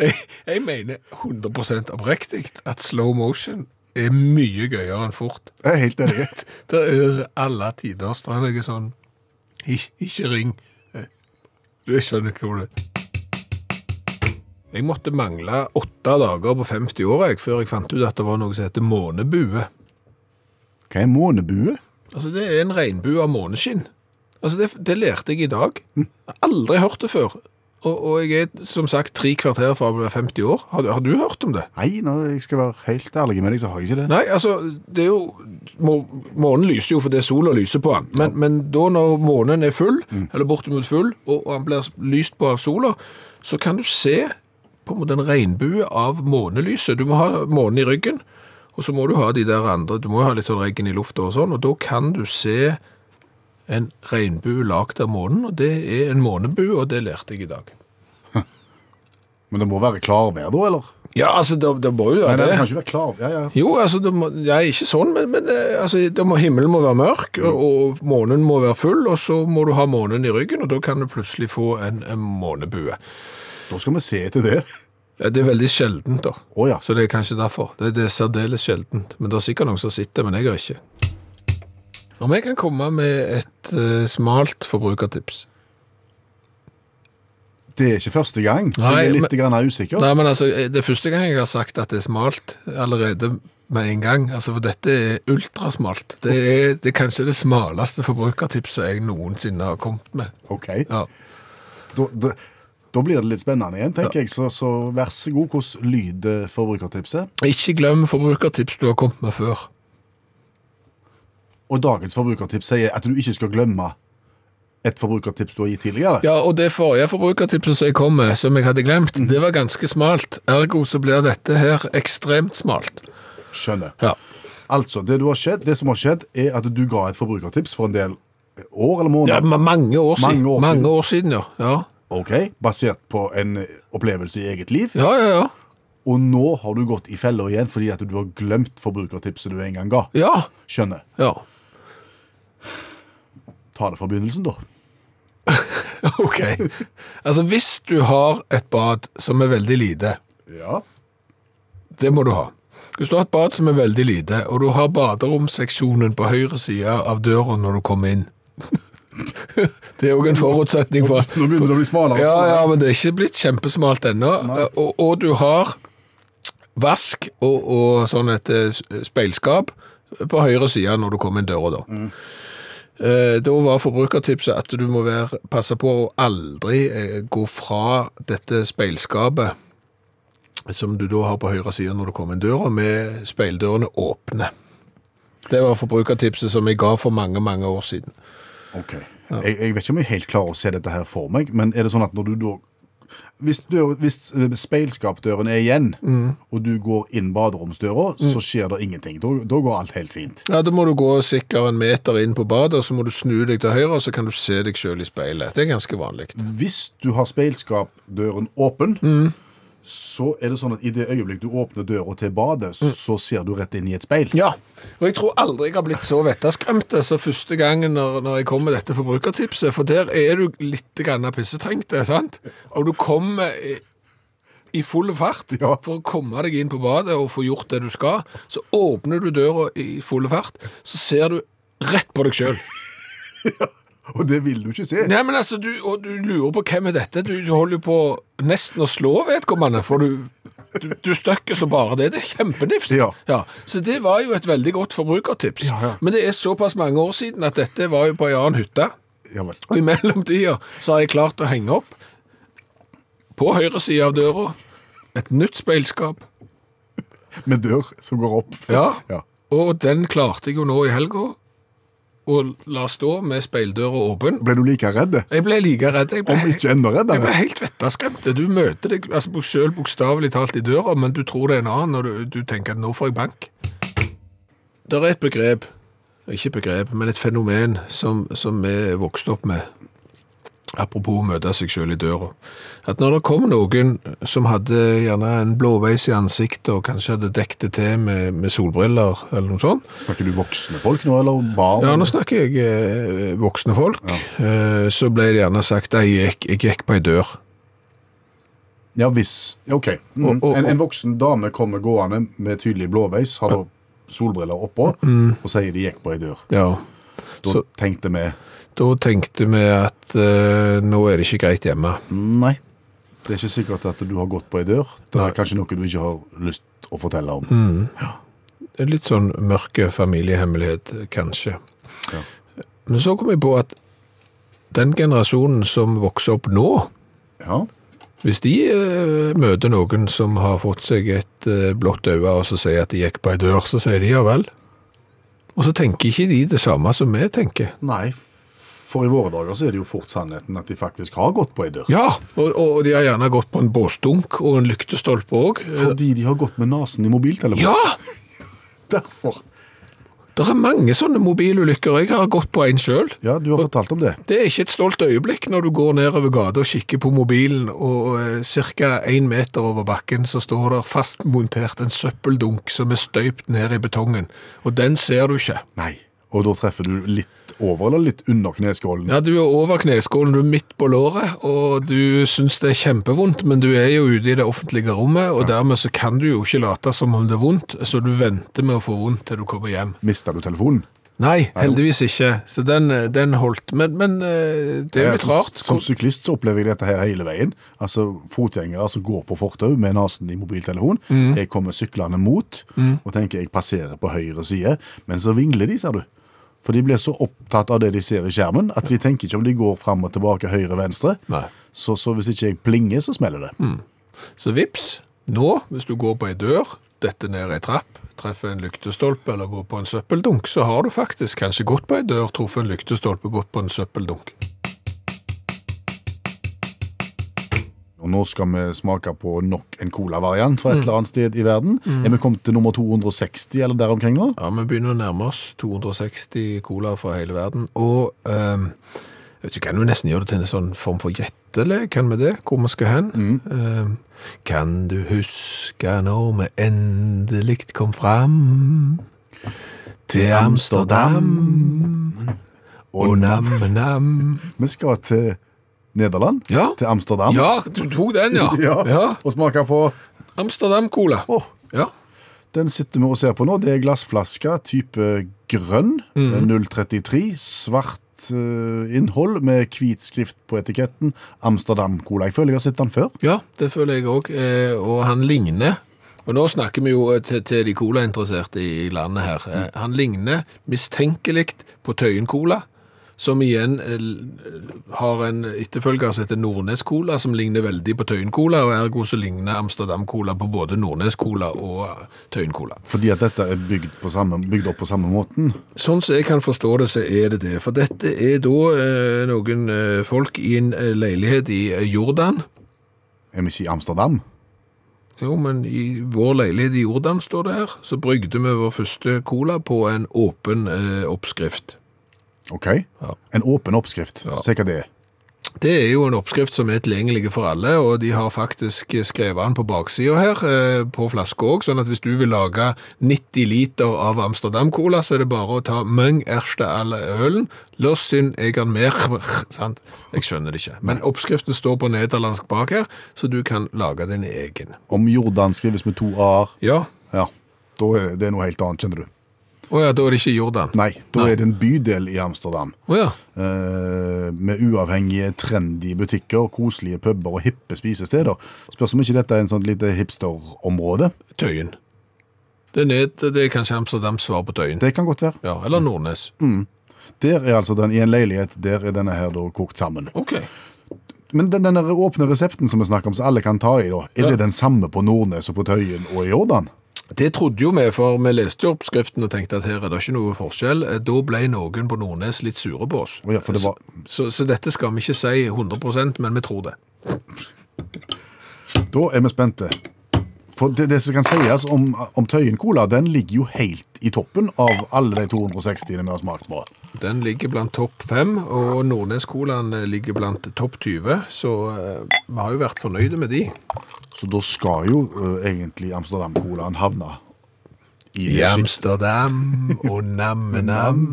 Speaker 3: Jeg, jeg mener 100 oppriktig at slow motion er mye gøyere enn fort.
Speaker 2: Jeg er helt enig.
Speaker 3: Det er alle tider strandlige sånn Ik Ikke ring. Eh, Du skjønner ikke hvor det Jeg måtte mangle åtte dager på 50 år jeg, før jeg fant ut at det var noe som heter månebue.
Speaker 2: Hva er månebue?
Speaker 3: Altså, det er en regnbue av måneskinn. Altså, det, det lærte jeg i dag. Jeg har aldri hørt det før. Og, og jeg er som sagt tre kvarter fra å bli 50 år. Har, du- har du hørt om det?
Speaker 2: Nei, når jeg skal være helt ærlig med deg, så har jeg ikke det.
Speaker 3: Nei, altså, det er jo må, Månen lyser jo fordi sola lyser på den. Men, men da når månen er full, eller bortimot full, og, og han blir lyst på av sola, så kan du se på en måte en regnbue av månelyset. Du må ha månen i ryggen, og så må du ha de der andre Du må jo ha litt sånn regn i lufta og sånn, og da kan du se en regnbue lagd av månen, og det er en månebue, og det lærte jeg i dag.
Speaker 2: Men det må være klarvær, da, eller?
Speaker 3: Ja, altså, det, det må jo
Speaker 2: Nei,
Speaker 3: være
Speaker 2: det
Speaker 3: det.
Speaker 2: kan ikke være klar. Ja, ja.
Speaker 3: Jo, altså, det må, ja, ikke sånn, men, men eh, altså, det må, himmelen må være mørk, og, og månen må være full, og så må du ha månen i ryggen, og da kan du plutselig få en, en månebue.
Speaker 2: Da skal vi se etter det.
Speaker 3: Ja, det er veldig sjeldent da,
Speaker 2: Å ja.
Speaker 3: så det er kanskje derfor. Det, det er særdeles sjeldent, men det er sikkert noen som sitter, men jeg har ikke. Om jeg kan komme med et eh, smalt forbrukertips.
Speaker 2: Det er ikke første gang, så jeg er
Speaker 3: Nei,
Speaker 2: litt grann usikker.
Speaker 3: Nei, men altså, Det er første gang jeg har sagt at det er smalt, allerede med en gang. Altså, For dette er ultrasmalt. Det er, det er kanskje det smaleste forbrukertipset jeg noensinne har kommet med.
Speaker 2: Ok,
Speaker 3: Ja.
Speaker 2: da, da, da blir det litt spennende igjen, tenker jeg. Så, så vær så god, hvordan lyder forbrukertipset?
Speaker 3: Ikke glem forbrukertips du har kommet med før.
Speaker 2: Og dagens forbrukertips sier at du ikke skal glemme et forbrukertips du har gitt tidligere.
Speaker 3: Ja, og det forrige forbrukertipset som jeg kom med, som jeg hadde glemt,
Speaker 2: Mm.
Speaker 3: det var ganske smalt. Ergo så blir dette her ekstremt smalt.
Speaker 2: Skjønner.
Speaker 3: Ja.
Speaker 2: Altså, det, du har skjedd, det som har skjedd, er at du ga et forbrukertips for en del år eller
Speaker 3: Ja,
Speaker 2: måneder.
Speaker 3: ma- mange år siden.
Speaker 2: Mange år siden.
Speaker 3: Mange år siden, ja. Ja,
Speaker 2: Ok, basert på en opplevelse i eget liv.
Speaker 3: ja, ja. ja.
Speaker 2: Og nå har du gått i feller igjen fordi at du har glemt forbrukertipset du en gang ga.
Speaker 3: ja.
Speaker 2: Skjønner.
Speaker 3: ja.
Speaker 2: Ta det fra begynnelsen, da.
Speaker 3: Ok. Altså, hvis du har et bad som er veldig lite,
Speaker 2: Ja.
Speaker 3: det må du ha. Hvis du har et bad som er veldig lite, og du har baderomseksjonen på høyre side av døra når du kommer inn Det er òg en forutsetning for at
Speaker 2: Nå begynner det å bli smalere.
Speaker 3: Ja, ja, men det er ikke blitt kjempesmalt ennå. Eh, Og, og du har vask og, og sånn et eh, speilskap på høyre side når du kommer inn døra da. Eh, Da var forbrukertipset at du må være, passe på å aldri eh, gå fra dette speilskapet som du da har på høyre side når du kommer inn døra, med speildørene åpne. Det var forbrukertipset som jeg ga for mange, mange år siden.
Speaker 2: Ok. Jeg, jeg vet ikke om jeg helt klarer å se dette her for meg, men er det sånn at når du da Hvis, dør, hvis eh, speilskapdøren er igjen,
Speaker 3: Mm.
Speaker 2: og du går inn baderomsdøra, så skjer det ingenting. Da, da går alt helt fint.
Speaker 3: Ja, Da må du gå sikkert en meter inn på badet, og så må du snu deg til høyre, og så kan du se deg sjøl i speilet. Det er ganske vanlig.
Speaker 2: Hvis du har speilskapdøren åpen,
Speaker 3: Mm.
Speaker 2: så er det sånn at i det øyeblikk du åpner døra til badet, så ser du rett inn i et speil.
Speaker 3: Mm. Ja, og jeg tror aldri jeg har blitt så vettaskremt som første gangen når, når jeg kom med dette forbrukertipset, for der er du litt grann pissetrengt, det er sant? Og du kommer i, i full fart
Speaker 2: Ja.
Speaker 3: for å komme deg inn på badet og få gjort det du skal. Så åpner du døra i full fart, så ser du rett på deg sjøl.
Speaker 2: Og det vil du ikke se.
Speaker 3: Nei, men altså, du, og du lurer på hvem er dette? Du, du holder jo på nesten å slå vedkommende, for du, du, du støkker så bare det. Det er kjempenifst.
Speaker 2: Ja.
Speaker 3: Så det var jo et veldig godt forbrukertips.
Speaker 2: Ja, ja.
Speaker 3: Men det er såpass mange år siden at dette var jo på ei annen hytte.
Speaker 2: Ja vel.
Speaker 3: Og i mellomtida så har jeg klart å henge opp, på høyre side av døra, et nytt speilskap.
Speaker 2: Med dør som går opp.
Speaker 3: Ja.
Speaker 2: ja.
Speaker 3: Og den klarte jeg jo nå i helga å la stå med speildøra åpen.
Speaker 2: Ble du like redd?
Speaker 3: Jeg ble like redd. Jeg ble
Speaker 2: Om ikke enda
Speaker 3: Jeg ble
Speaker 2: reddere?
Speaker 3: helt vettaskremt. Du møter deg altså, bok- selv bokstavelig talt i døra, men du tror det er en annen, og du, du tenker at nå får jeg bank. Det er et begrep, ikke begrep, men et fenomen som, som vi er vokst opp med, apropos å møte seg selv i døra. At når det kom noen som hadde gjerne en blåveis i ansiktet, og kanskje hadde dekt det til med, med solbriller eller noe sånt,
Speaker 2: Snakker du voksne folk nå, eller barn?
Speaker 3: ja, nå snakker jeg eh, voksne folk, eh, så ble det gjerne sagt, «Nei, jeg, gikk- jeg gikk på ei dør.
Speaker 2: Ja, hvis ja, OK. Mm.
Speaker 3: Og- og-
Speaker 2: en, en voksen dame kommer gående med tydelig blåveis, har da solbriller oppå, og sier de gikk på ei dør.
Speaker 3: Mm. Ja,
Speaker 2: Da
Speaker 3: Så-
Speaker 2: tenkte vi
Speaker 3: Da tenkte vi at eh, nå er det ikke greit hjemme.
Speaker 2: nei. Det er ikke sikkert at du har gått på ei dør. Det
Speaker 3: Nei. Mm.
Speaker 2: er kanskje noe du ikke har lyst å fortelle om.
Speaker 3: Det er Litt sånn mørke familiehemmelighet, kanskje.
Speaker 2: Ja.
Speaker 3: Men så kom jeg på at den generasjonen som vokser opp nå,
Speaker 2: Ja,
Speaker 3: hvis de eh, møter noen som har fått seg et eh, blått øye og så sier at de gikk på ei dør, så sier de ja vel. Og så tenker ikke de det samme som vi tenker.
Speaker 2: Nei, for i våre dager så er det jo fort sannheten at de faktisk har gått på ei dør.
Speaker 3: Ja, og, og de har gjerne gått på en båsdunk og en lyktestolpe òg.
Speaker 2: Fordi de har gått med nesen i mobiltelefonen.
Speaker 3: Ja!
Speaker 2: Derfor.
Speaker 3: Det er mange sånne mobilulykker. Jeg har gått på en sjøl.
Speaker 2: Ja, du har fortalt om det.
Speaker 3: Det er ikke et stolt øyeblikk når du går nedover gata og kikker på mobilen, og ca. én meter over bakken så står der fastmontert en søppeldunk som er støypt ned i betongen, og den ser du ikke.
Speaker 2: Nei. Og da treffer du litt over eller litt under kneskålen.
Speaker 3: Ja, Du er over kneskålen, du er midt på låret, og du syns det er kjempevondt, men du er jo ute i det offentlige rommet, og dermed så kan du jo ikke late som om det er vondt, så du venter med å få vondt til du kommer hjem.
Speaker 2: Mister du telefonen?
Speaker 3: Nei, heldigvis ikke, så den, eh, den holdt. Men, men eh, det er jo
Speaker 2: Ja,
Speaker 3: litt
Speaker 2: så-
Speaker 3: rart.
Speaker 2: Som syklist så opplever jeg dette her hele veien. Altså Fotgjengere som går på fortau med nesen i mobiltelefon.
Speaker 3: Mm.
Speaker 2: Jeg kommer syklende mot og tenker jeg passerer på høyre side, men så vingler de, ser du. For de blir så opptatt av det de ser i skjermen, at de tenker ikke om de går fram og tilbake høyre-venstre.
Speaker 3: Nei. Mm.
Speaker 2: Så, så hvis ikke jeg plinger, så smeller det.
Speaker 3: Så vips, nå, hvis du går på ei dør, detter ned ei trapp, treffer en lyktestolpe eller går på en søppeldunk, så har du faktisk kanskje gått på ei dør, truffet en lyktestolpe, gått på en søppeldunk.
Speaker 2: Og nå skal vi smake på nok en colavariant
Speaker 3: Mm.
Speaker 2: fra et eller annet sted i verden. Er vi kommet til nummer 260 eller der omkring nå?
Speaker 3: Ja, vi begynner å nærme oss 260 cola fra hele verden, og ehm, vet du, kan jo nesten gjøre det til en sånn form for gjettelek, kan vi det, hvor vi skal hen?
Speaker 2: Mm.
Speaker 3: Ehm, kan du huske når vi endelig kom fram til Amsterdam? Og nam-nam.
Speaker 2: Vi skal til Nederland.
Speaker 3: Ja.
Speaker 2: Til Amsterdam.
Speaker 3: Ja, du tok den, ja.
Speaker 2: Ja, Og smake på
Speaker 3: Amsterdam-cola.
Speaker 2: Åh,
Speaker 3: Ja.
Speaker 2: Den sitter vi og ser på nå. Det er glassflaske type grønn. 033. Svart eh, innhold med hvit skrift på etiketten. Amsterdam Cola. Jeg føler jeg har sett den før.
Speaker 3: ja, det føler jeg òg. Eh, og han ligner Og nå snakker vi jo eh, til, til de colainteresserte i landet her. Eh, han ligner mistenkelig på Tøyen Cola. Som igjen eh, l- har en etterfølger som heter Nordnes Cola, som ligner veldig på Tøyen Cola. Og ergo så ligner Amsterdam Cola på både Nordnes Cola og eh, Tøyen Cola.
Speaker 2: Fordi at dette er bygd, på samme, bygd opp på samme måten.
Speaker 3: Sånn som jeg kan forstå det, så er det det. For dette er da eh, noen eh, folk i en eh, leilighet i eh, Jordan.
Speaker 2: Jeg vil si Amsterdam.
Speaker 3: Jo, men i vår leilighet i Jordan, står det her, så brygde vi vår første cola på en åpen eh, oppskrift.
Speaker 2: OK?
Speaker 3: Ja.
Speaker 2: En åpen oppskrift. Se hva det er.
Speaker 3: Det er jo en oppskrift som er tilgjengelig for alle, og de har faktisk skrevet den på baksida her, eh, på flaske òg, sånn at hvis du vil lage 90 liter av Amsterdam-cola, så er det bare å ta Mung erste alle ølen, Los sin egen mer sant? Jeg skjønner det ikke. Men oppskriften står på nederlandsk bak her, så du kan lage din egen.
Speaker 2: Om Jordan skrives med to a-er,
Speaker 3: Ja.
Speaker 2: ja, da er det noe helt annet, skjønner du.
Speaker 3: Å ja, da er det ikke Jordan.
Speaker 2: Nei, da er det en bydel i Amsterdam.
Speaker 3: Å ja.
Speaker 2: eh, med uavhengige, trendy butikker, koselige puber og hippe spisesteder. Spørs om ikke dette er en sånn lite hipsterområde.
Speaker 3: Tøyen. Det er, ned, det er kanskje Amsterdams svar på Tøyen.
Speaker 2: Det kan godt være.
Speaker 3: Ja, eller Nordnes.
Speaker 2: Der er altså den i en leilighet, der er denne her da kokt sammen.
Speaker 3: Ok.
Speaker 2: Men den, den der åpne resepten som vi snakker om, som alle kan ta i, da, er
Speaker 3: Ja.
Speaker 2: det den samme på Nordnes og på Tøyen og i Jordan?
Speaker 3: Det trodde jo vi, for vi leste jo oppskriften og tenkte at her er det ikke noe forskjell. Eh, Da ble noen på Nordnes litt sure på oss.
Speaker 2: Å ja, for det var-
Speaker 3: så, så, så dette skal vi ikke si 100 men vi tror det.
Speaker 2: Da er vi spente. For det, det som kan sies om, om Tøyen Cola, den ligger jo helt i toppen av alle de 260 vi har smakt på.
Speaker 3: Den ligger blant topp fem, og Nordnes-colaen eh, ligger blant topp 20, så eh, vi har jo vært fornøyde med de.
Speaker 2: Så da skal jo eh, egentlig Amsterdam-colaen havne i det
Speaker 3: I
Speaker 2: sjiktet.
Speaker 3: Amsterdam og nam-nam.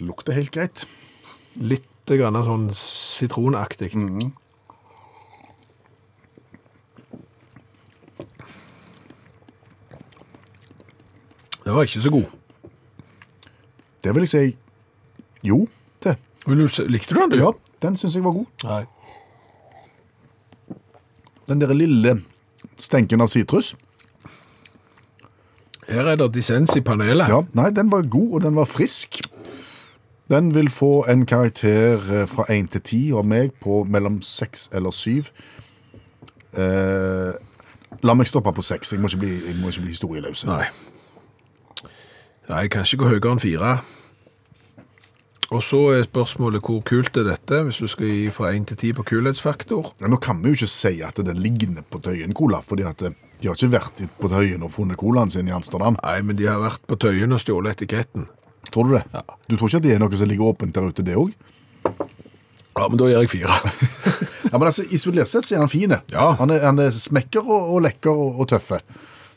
Speaker 2: Lukter helt greit.
Speaker 3: Litt grann sånn sitronaktig. Det var ikke så god.
Speaker 2: Det vil jeg si Jo, det.
Speaker 3: Vil du se- Likte du den, du?
Speaker 2: Ja, den syns jeg var god.
Speaker 3: Nei.
Speaker 2: Den der lille stenken av sitrus.
Speaker 3: Her er det dissens i panelet.
Speaker 2: Ja, nei, den var god, og den var frisk. Den vil få en karakter eh, fra 1 til 10 av meg på mellom 6 eller 7. Eh, la meg stoppe på 6, jeg må ikke bli, jeg må ikke bli historieløs.
Speaker 3: Nei. Nei, jeg kan ikke gå høyere enn fire. Og så er spørsmålet hvor kult er dette, hvis du skal gi fra 1 til 10 på kulhetsfaktor.
Speaker 2: Men Nå kan vi jo ikke si at den ligner på Tøyen Cola, fordi at eh, de har ikke vært i- på Tøyen og funnet colaen sin i Amsterdam.
Speaker 3: Nei, men de har vært på tøyen og stjålet etiketten.
Speaker 2: Tror du det? Du tror ikke at det er noe som ligger åpent der ute, det òg?
Speaker 3: Ja, men da gir jeg fire.
Speaker 2: Ja, men altså, isolert sett så er han fin.
Speaker 3: Ja.
Speaker 2: Han, er- han er smekker og, og lekker og, og tøffe.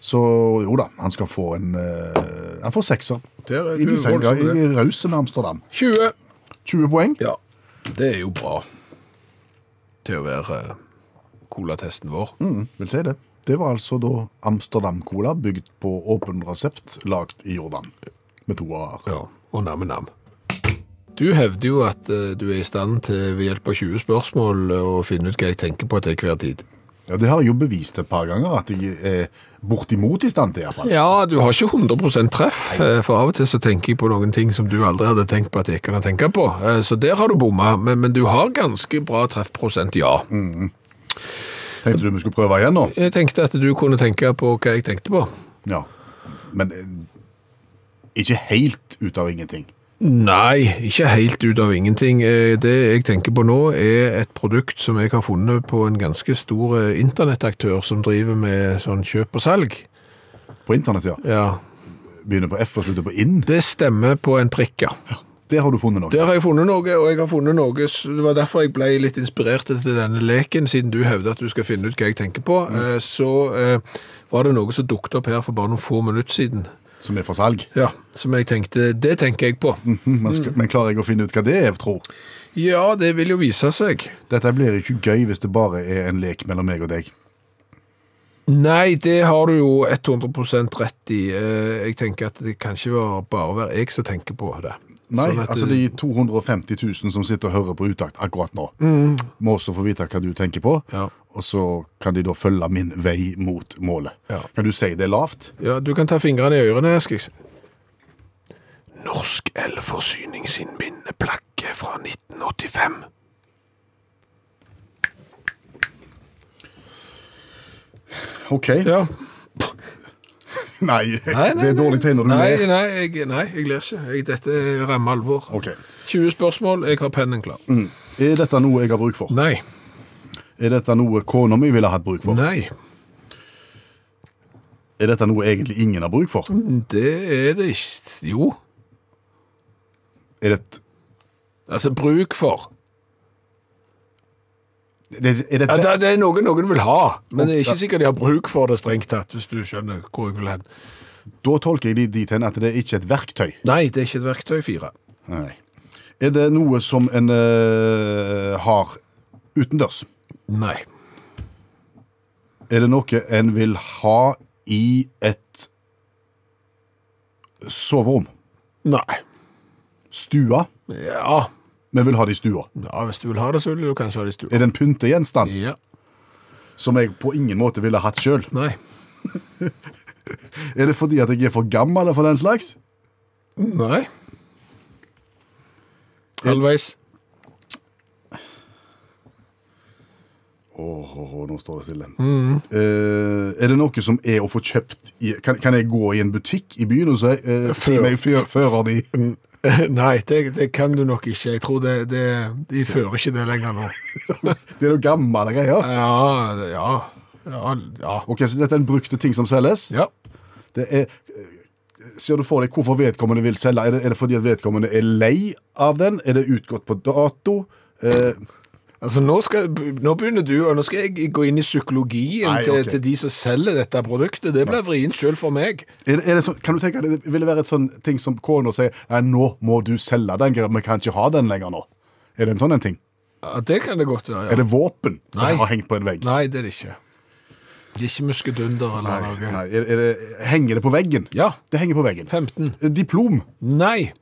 Speaker 2: Så jo da, han skal få en eh, Han får sekser.
Speaker 3: Der er
Speaker 2: I
Speaker 3: du
Speaker 2: design, ja,
Speaker 3: voldsom,
Speaker 2: i
Speaker 3: det.
Speaker 2: rause med Amsterdam.
Speaker 3: 20.
Speaker 2: 20 poeng.
Speaker 3: Ja, det er jo bra til å være eh, colatesten vår.
Speaker 2: Mm, vil si det. Det var altså da Amsterdam-cola bygd på åpen resept, lagd i Jordan. Med to a-er.
Speaker 3: Ja, og nam-nam. Du hevder jo at eh, du er i stand til ved hjelp av 20 spørsmål eh, å finne ut hva jeg tenker på til hver tid.
Speaker 2: Ja, det har jeg jo bevist et par ganger at jeg er bortimot i stand til, iallfall.
Speaker 3: Ja, du har ikke 100 treff, eh, for av og til så tenker jeg på noen ting som du aldri hadde tenkt på at jeg kan tenke på. Eh, Så der har du bomma, men, men du har ganske bra treffprosent, ja.
Speaker 2: Tenkte du vi skulle prøve igjen nå?
Speaker 3: Jeg tenkte at du kunne tenke på hva jeg tenkte på.
Speaker 2: Ja. Men eh, ikke helt ut av ingenting.
Speaker 3: Nei, ikke helt ut av ingenting. Eh, Det jeg tenker på nå er et produkt som jeg har funnet på en ganske stor eh, internettaktør som driver med sånn kjøp og salg.
Speaker 2: På internett, ja.
Speaker 3: Ja,
Speaker 2: Begynner på F og slutter på inn.
Speaker 3: Det stemmer på en prikk, ja.
Speaker 2: Der har du funnet noe.
Speaker 3: Der har jeg funnet noe, og jeg har funnet noe, s- det var derfor jeg ble litt inspirert til denne leken, siden du hevder at du skal finne ut hva jeg tenker på. Eh, Så eh, var det noe som dukket opp her for bare noen få minutter siden,
Speaker 2: Som er for salg.
Speaker 3: ja, som jeg tenkte, det tenker jeg på.
Speaker 2: Mhm, Men, skal, men klarer jeg å finne ut hva det er, tro?
Speaker 3: Ja, det vil jo vise seg.
Speaker 2: Dette blir ikke gøy hvis det bare er en lek mellom meg og deg.
Speaker 3: Nei, det har du jo 100 rett i. Eh, Jeg tenker at det kan ikke være- bare være jeg som tenker på det.
Speaker 2: Nei,
Speaker 3: Sånn at
Speaker 2: altså de
Speaker 3: det-
Speaker 2: 250 000 som sitter og hører på utakt akkurat nå, må også få vite hva du tenker på,
Speaker 3: Ja.
Speaker 2: og så kan de da følge min vei mot målet.
Speaker 3: Ja.
Speaker 2: Kan du si det er lavt?
Speaker 3: Ja, Du kan ta fingrene i ørene. skal jeg si. Norsk Elforsyning sin minneplakke fra 1985.
Speaker 2: Ok.
Speaker 3: Ja.
Speaker 2: Nei,
Speaker 3: Nei, nei,
Speaker 2: det er dårlig tegn når du
Speaker 3: Nei,
Speaker 2: ler.
Speaker 3: nei, jeg, nei, jeg ler ikke. Jeg, dette er ramme alvor.
Speaker 2: Ok. Mm.
Speaker 3: 20 spørsmål, jeg har pennen klar.
Speaker 2: Er dette noe jeg har bruk for?
Speaker 3: Nei.
Speaker 2: Er dette noe kona mi ville hatt bruk for?
Speaker 3: Nei.
Speaker 2: Er dette noe egentlig ingen har bruk for?
Speaker 3: Det er det ikke. Jo.
Speaker 2: Er det,
Speaker 3: Altså, bruk for.
Speaker 2: er det, er det,
Speaker 3: Ja, det, det er noe noen vil ha, men det er
Speaker 2: Ja.
Speaker 3: ikke sikkert de har bruk for det strengt tatt, hvis du skjønner hvor jeg vil hen.
Speaker 2: Da tolker jeg de dit hen at det er ikke et verktøy.
Speaker 3: Nei, det er ikke et verktøy fire.
Speaker 2: Nei. Er det noe som en eh, har utendørs?
Speaker 3: Nei.
Speaker 2: Er det noe en vil ha i et soverom?
Speaker 3: Nei.
Speaker 2: Stua?
Speaker 3: Ja.
Speaker 2: Vi vil ha det i stua.
Speaker 3: ja, hvis du vil ha det, så vil du kanskje ha det i stua.
Speaker 2: Er det en pyntegjenstand
Speaker 3: Ja.
Speaker 2: som jeg på ingen måte ville hatt sjøl?
Speaker 3: Nei.
Speaker 2: Er det fordi at jeg er for gammel for den slags?
Speaker 3: Nei. Halvveis.
Speaker 2: Åh, åh, åh, nå står det stille. Eh, er det noe som er å få kjøpt i Kan, kan jeg gå i en butikk i byen og si, eh, si
Speaker 3: Før.
Speaker 2: meg før, fører de
Speaker 3: Nei, det, det kan du nok ikke. Jeg tror det, det, de fører ikke det lenger nå.
Speaker 2: Det er noe gammel greier.
Speaker 3: Ja, ja. Ja, ja.
Speaker 2: Ok, så dette er en brukte ting som selges.
Speaker 3: Ja.
Speaker 2: Det er, eh, ser du for deg hvorfor vedkommende vil selge? Er det, er det fordi at vedkommende er lei av den? Er det utgått på dato? Eh,
Speaker 3: Altså, nå, skal, nå begynner du, og nå skal jeg gå inn i psykologien
Speaker 2: Nei,
Speaker 3: til,
Speaker 2: ok.
Speaker 3: til de som selger dette produktet. Det blir vrient selv for meg.
Speaker 2: er det, er det sånn- kan du tenke deg, det ville være et sånn ting som kona sier Nei, nå må du selge den, vi kan ikke ha den lenger nå. Er det en sånn en ting?
Speaker 3: Ja, det kan det godt være, ja.
Speaker 2: Er det våpen som
Speaker 3: Nei.
Speaker 2: har hengt på en vegg?
Speaker 3: Nei, det er det ikke. Det er ikke muskedunder eller
Speaker 2: Nei,
Speaker 3: noe.
Speaker 2: nei. Er, er det, henger det på veggen?
Speaker 3: Ja,
Speaker 2: Det henger på veggen.
Speaker 3: 15.
Speaker 2: Diplom.
Speaker 3: Nei.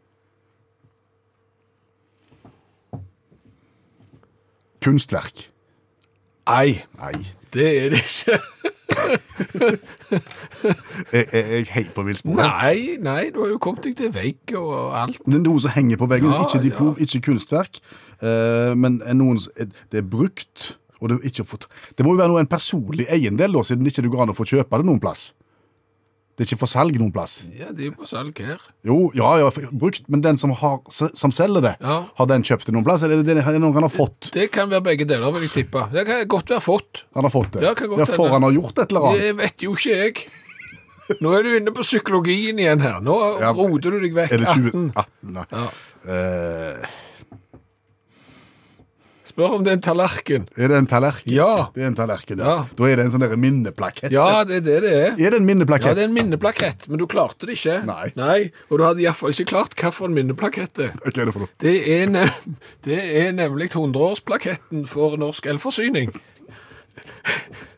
Speaker 2: Kunstverk.
Speaker 3: Nei.
Speaker 2: Nei.
Speaker 3: Det er det ikke.
Speaker 2: Er, er jeg helt på villsporet?
Speaker 3: Nei, nei, du har jo kommet deg til vegg og alt.
Speaker 2: Det er noe som henger på veggen.
Speaker 3: Ja,
Speaker 2: ikke diplom, ikke kunstverk. eh, men er noen, s- er- det er brukt. Og det, er ikke fått, det må jo være noe en personlig eiendel, da, siden det ikke går an å få kjøpe det noen plass. Det er ikke for salg noen plass.
Speaker 3: Ja, det er jo på salg her.
Speaker 2: Jo, ja, ja, for- brukt, men den som, har, som selger det,
Speaker 3: Ja.
Speaker 2: har den kjøpt det noen plass? Eller er det det noen han har fått?
Speaker 3: Det kan være begge deler, vil jeg tippe. Det kan godt være fått.
Speaker 2: Han har fått det.
Speaker 3: Ja, kan godt
Speaker 2: Ja, for
Speaker 3: hende.
Speaker 2: han har gjort et eller annet.
Speaker 3: Det vet jo ikke jeg. Nå er du inne på psykologien igjen her. Nå
Speaker 2: Ja,
Speaker 3: roter du deg vekk.
Speaker 2: Er det
Speaker 3: 18.
Speaker 2: 2018? Nei.
Speaker 3: Ja.
Speaker 2: Eh,
Speaker 3: Spør om det er en tallerken.
Speaker 2: er det en tallerken?
Speaker 3: Ja.
Speaker 2: Det er en tallerken, ja.
Speaker 3: Ja.
Speaker 2: Da er det en sånn der minneplakett.
Speaker 3: Ja, det er det det er.
Speaker 2: Er det en
Speaker 3: Ja,
Speaker 2: minneplakett?
Speaker 3: det er en minneplakett, men du klarte det ikke.
Speaker 2: Nei.
Speaker 3: Og du hadde iallfall ikke klart hvilken minneplakett det er.
Speaker 2: Hva er det for noe?
Speaker 3: Det er, nem det er nemlig 100-årsplaketten for norsk elforsyning.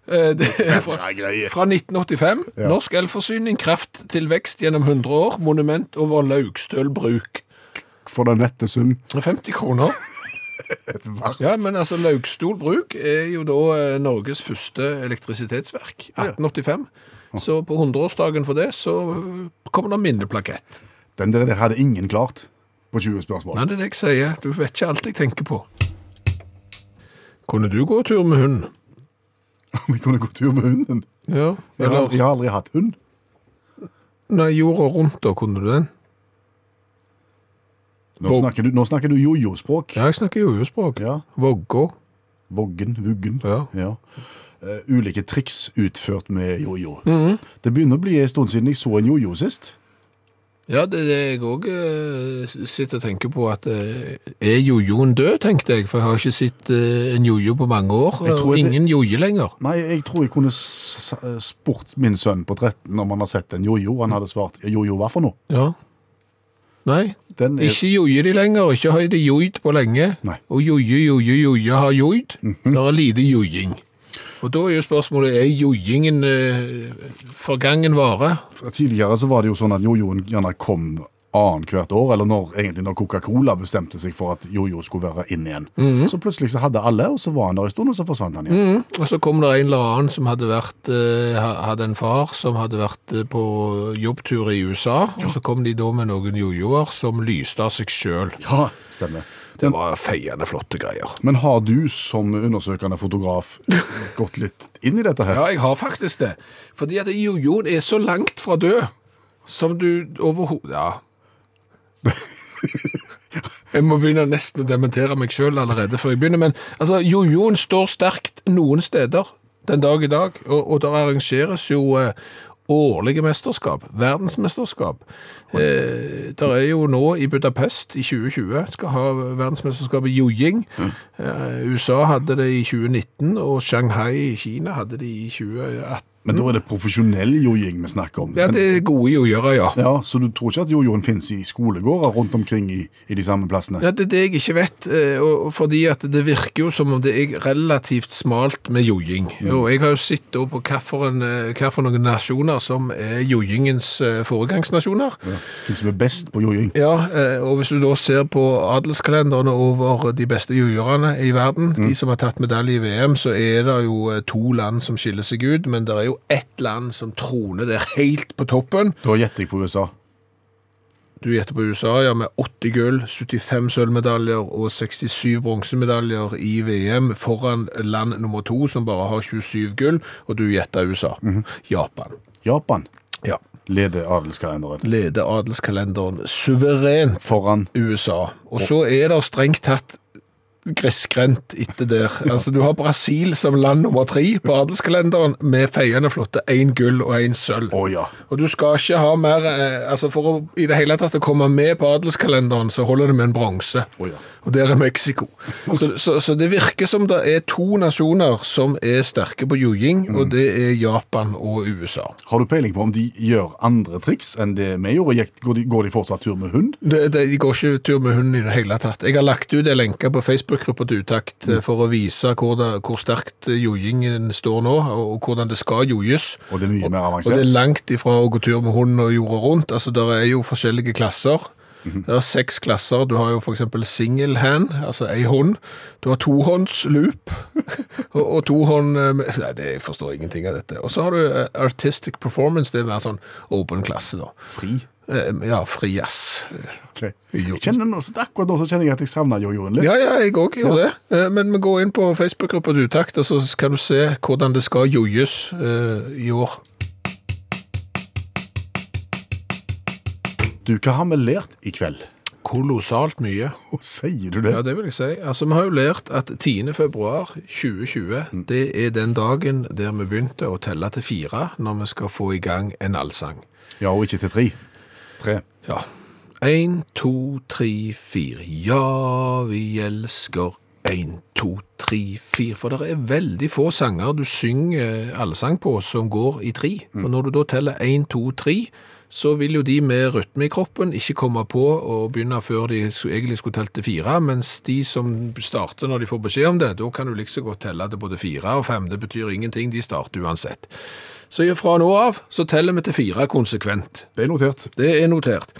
Speaker 3: Eh, Det er fra,
Speaker 2: Nei, greier.
Speaker 3: fra 1985.
Speaker 2: Ja.
Speaker 3: Norsk elforsyning, kraft til vekst gjennom 100 år. Monument over Laugstøl bruk.
Speaker 2: For den nette sum.
Speaker 3: 50 kroner.
Speaker 2: Et varmt
Speaker 3: Ja, men altså Laugstol bruk er jo da eh, Norges første elektrisitetsverk. 1885. Så på 100-årsdagen for det, så eh, kommer det minneplakett.
Speaker 2: Den der, der hadde ingen klart på 20 spørsmål.
Speaker 3: Nei, det er det jeg sier. Du vet ikke alt jeg tenker på. Kunne du gå tur med hund?
Speaker 2: Vi kunne gå tur med hunden.
Speaker 3: Ja.
Speaker 2: Jeg har, jeg har aldri hatt hund.
Speaker 3: Nei, jorda rundt da, kunne du den?
Speaker 2: Nå
Speaker 3: Vog-
Speaker 2: snakker du, nå snakker du jojo-språk.
Speaker 3: Ja, jeg snakker jojo-språk.
Speaker 2: Ja.
Speaker 3: Vågå.
Speaker 2: Voggen, vuggen.
Speaker 3: Ja.
Speaker 2: Eh, ulike triks utført med jojo. Det begynner å bli en stund siden jeg så en jojo sist.
Speaker 3: Ja, det er det jeg òg eh, sitter og tenker på. at eh, Er jojoen død, tenkte jeg, for jeg har ikke sett eh, en jojo på mange år.
Speaker 2: Jeg tror
Speaker 3: og
Speaker 2: at det-
Speaker 3: ingen joje lenger.
Speaker 2: Nei, jeg tror jeg kunne s- s- spurt min sønn på 13 om han har sett en jojo. Han hadde svart jojo, hva for noe?
Speaker 3: Ja. Nei,
Speaker 2: Den er,
Speaker 3: ikke jojer de lenger. Ikke har de joid på lenge.
Speaker 2: Nei. Mhm.
Speaker 3: Og joje, joje, joje har joid. Det er lite jojing. Og da er jo spørsmålet er jojingen eh, forgangen vare.
Speaker 2: fra tidligere så var det jo sånn at jojoen gjerne kom annethvert år, eller når, egentlig når Coca-Cola bestemte seg for at jojo skulle være inn igjen.
Speaker 3: Mhm.
Speaker 2: Så plutselig så hadde alle, og så var han der en stund, og så forsvant han igjen.
Speaker 3: Og så kom det en eller annen som hadde vært eh, ha- hadde en far som hadde vært eh, på jobbtur i USA. Og så kom de da med noen jojoer som lyste av seg sjøl.
Speaker 2: Ja, stemmer.
Speaker 3: Det var feiende flotte greier.
Speaker 2: Men har du som undersøkende fotograf gått litt inn i dette her?
Speaker 3: Ja, jeg har faktisk det. Fordi at jojoen er så langt fra død som du overhodet Ja. Jeg må begynne nesten å dementere meg sjøl allerede før jeg begynner. Men altså, jojoen står sterkt noen steder den dag i dag, og, og det arrangeres jo eh, Årlige mesterskap, verdensmesterskap. Eh, der er jo nå i Budapest i 2020 skal ha verdensmesterskap i jojing. Eh, USA hadde det i 2019, og Shanghai i Kina hadde det i 2018.
Speaker 2: Men da er det profesjonell jojoing vi snakker om.
Speaker 3: Ja, det er gode jojere, ja.
Speaker 2: ja, Så du tror ikke at jojoen finnes i skolegårder rundt omkring i, i de samme plassene?
Speaker 3: Ja, Det er det jeg ikke vet, eh, og og fordi at det virker jo som om det er relativt smalt med joing. Og jeg har jo sett da på eh, hvilke nasjoner som er joingens eh, foregangsnasjoner.
Speaker 2: Hvem som er best på jojoing?
Speaker 3: Ja, eh, og hvis du da ser på adelskalenderne over de beste jojerne i verden, de som har tatt medalje i VM, så er det jo eh, to land som skiller seg ut, men det er jo ett land som troner der helt på toppen.
Speaker 2: Da gjetter jeg på USA.
Speaker 3: Du gjetter på USA, ja, med 80 gull, 75 sølvmedaljer og 67 bronsemedaljer i VM foran land nummer to, som bare har 27 gull, og du gjetter USA. Japan.
Speaker 2: Japan
Speaker 3: Ja.
Speaker 2: leder adelskalenderen.
Speaker 3: Leder adelskalenderen suverent
Speaker 2: Foran
Speaker 3: USA. Og så er det strengt tatt gressgrendt etter der. Altså, du har Brasil som land nummer tre på adelskalenderen, med feiende flotte én gull og én sølv.
Speaker 2: Å ja.
Speaker 3: Og du skal ikke ha mer eh, altså For å i det hele tatt å komme med på adelskalenderen, så holder det med en bronse.
Speaker 2: Å ja.
Speaker 3: Og der er Mexico. Så, så, så det virker som det er to nasjoner som er sterke på joing,
Speaker 2: Mm.
Speaker 3: og det er Japan og USA.
Speaker 2: Har du peiling på om de gjør andre triks enn det vi gjorde? Gikk- Går de, går de fortsatt tur med hund?
Speaker 3: Det, det, de går ikke tur med hunden i det hele tatt. Jeg har lagt ut en lenke på Facebook-gruppa til utakt
Speaker 2: Mm.
Speaker 3: eh, for å vise hvor, det, hvor sterkt eh, joingen står nå, og, og hvordan det skal joies.
Speaker 2: Og det er mye mer
Speaker 3: Og det er
Speaker 2: avansert?
Speaker 3: langt ifra å gå tur med hund og jorda rundt. Altså, Det er jo forskjellige klasser. Det er seks klasser. Du har jo f.eks. single hand, altså ei hånd. Du har tohåndsloop og, og tohånd eh, med- Nei, det jeg forstår ingenting av dette. Og så har du eh, artistic performance, det er mer sånn åpen klasse, da.
Speaker 2: Fri.
Speaker 3: Eh, Ja, fri jazz.
Speaker 2: Ok.
Speaker 3: Jo.
Speaker 2: Jeg kjenner nå, akkurat nå så kjenner jeg at jeg savner jojoen litt.
Speaker 3: Ja, ja, jeg òg gjorde det. Eh, Men vi går inn på Facebook-gruppa til Utakt, og så kan du se hvordan det skal joies eh, i år.
Speaker 2: Du, hva har vi lært i kveld?
Speaker 3: Kolossalt mye.
Speaker 2: Hva sier du det?
Speaker 3: Ja, det vil jeg si. Altså, Vi har jo lært at 10. februar 2020 det er den dagen der vi begynte å telle til fire når vi skal få i gang en allsang.
Speaker 2: Ja, og ikke til tre. Tre.
Speaker 3: Ja. Én, to, tre, fire. Ja, vi elsker. Én, to, tre, fire. For det er veldig få sanger du synger allsang på som går i tre. Og når du da teller én, to, tre, så vil jo de med rytme i kroppen ikke komme på og begynne før de s- egentlig skulle telt til fire, mens de som starter når de får beskjed om det, da kan du like så godt telle til både fire og fem. Det betyr ingenting, de starter uansett. Så fra nå av så teller vi til fire konsekvent.
Speaker 2: Det er notert.
Speaker 3: Det er notert.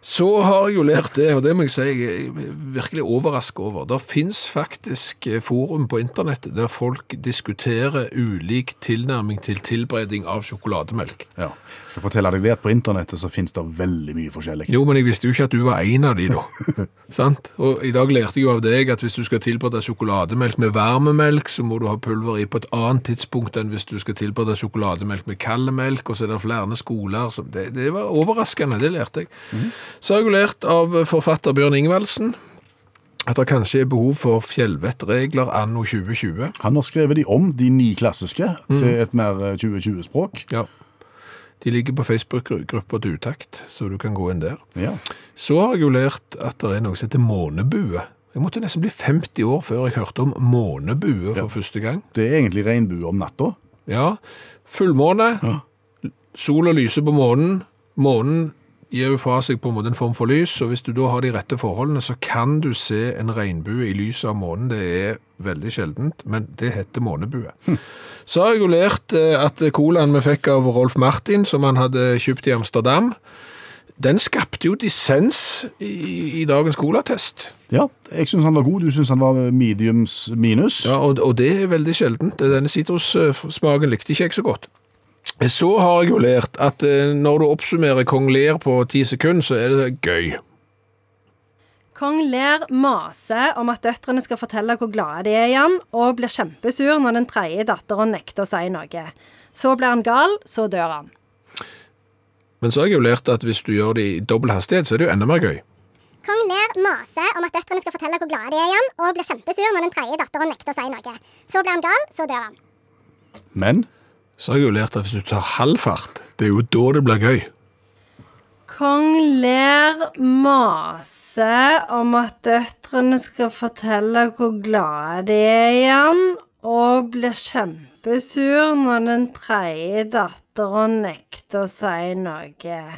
Speaker 3: Så har jeg jo lært det, og det må jeg si jeg er virkelig overrasket over. Der finnes faktisk eh, forum på internett der folk diskuterer ulik tilnærming til tilberedning av sjokolademelk.
Speaker 2: Ja. Jeg skal fortelle deg det at på internettet så finnes det veldig mye forskjellig.
Speaker 3: Jo, men jeg visste jo ikke at du var en av de da. Sant? Og i dag lærte jeg jo av deg at hvis du skal tilberede sjokolademelk med varmemelk, så må du ha pulver i på et annet tidspunkt enn hvis du skal tilberede sjokolademelk med kallemelk, og så er det flere skoler. som- det, det var overraskende, det lærte jeg. Så har jeg jo lært av forfatter Bjørn Ingvaldsen at det kanskje er behov for fjellvettregler anno 2020.
Speaker 2: Han har skrevet de om, de ni klassiske,
Speaker 3: Mm.
Speaker 2: til et mer eh, 2020-språk.
Speaker 3: Ja. De ligger på Facebook-gruppa til utakt, så du kan gå inn der.
Speaker 2: Ja.
Speaker 3: Så har jeg jo lært at det er noe som heter månebue. Jeg måtte nesten bli 50 år før jeg hørte om månebue for første gang.
Speaker 2: Det er eh, egentlig regnbue om natta.
Speaker 3: Ja, fullmåne, sol og lyse på månen. Månen gir jo fra seg på en måte en form for lys, og hvis du da har de rette forholdene, så kan du se en regnbue i lyset av månen. Det er veldig sjeldent, men det heter månebue. Så har jeg jo lært eh, at colaen vi fikk av Rolf Martin, som han hadde kjøpt i Amsterdam, den skapte jo dissens i, i dagens colatest.
Speaker 2: Ja, jeg syns han var god. Du syns han var mediums minus.
Speaker 3: Ja, og, og det er veldig sjeldent. Denne sitrussmaken likte ikke jeg så godt. Så har jeg jo lært at eh, når du oppsummerer Kong Lear på ti sekunder, så er det gøy.
Speaker 4: Kong Lear maser om at døtrene skal fortelle hvor glade de er i han, og blir kjempesur når den tredje datteren nekter å si noe. Så blir han gal, så dør han.
Speaker 3: Men så har jeg jo lært at hvis du gjør det i dobbel hastighet, så er det jo enda mer gøy.
Speaker 6: Kong Lear maser om at døtrene skal fortelle hvor glade de er i ham, og blir kjempesur når den tredje datteren nekter å si noe. Så blir han gal, så dør han.
Speaker 2: Men
Speaker 3: Så har jeg jo lært at hvis du tar halv fart, det er jo da det blir gøy.
Speaker 4: Kong Lear maser om at døtrene skal fortelle hvor glade de er i han, og blir kjempesur når den tredje datteren nekter å si noe.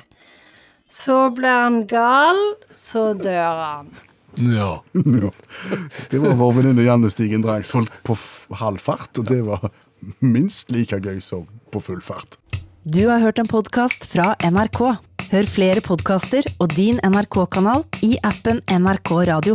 Speaker 4: Så blir han gal, så dør han.
Speaker 3: Ja.
Speaker 2: ja. Det var vår venninne Janne Stigen Drangsholt på f- halv fart, og det var minst like gøy som på full fart.
Speaker 1: Du har hørt en podkast fra NRK. Hør flere podkaster og din NRK-kanal i appen NRK Radio.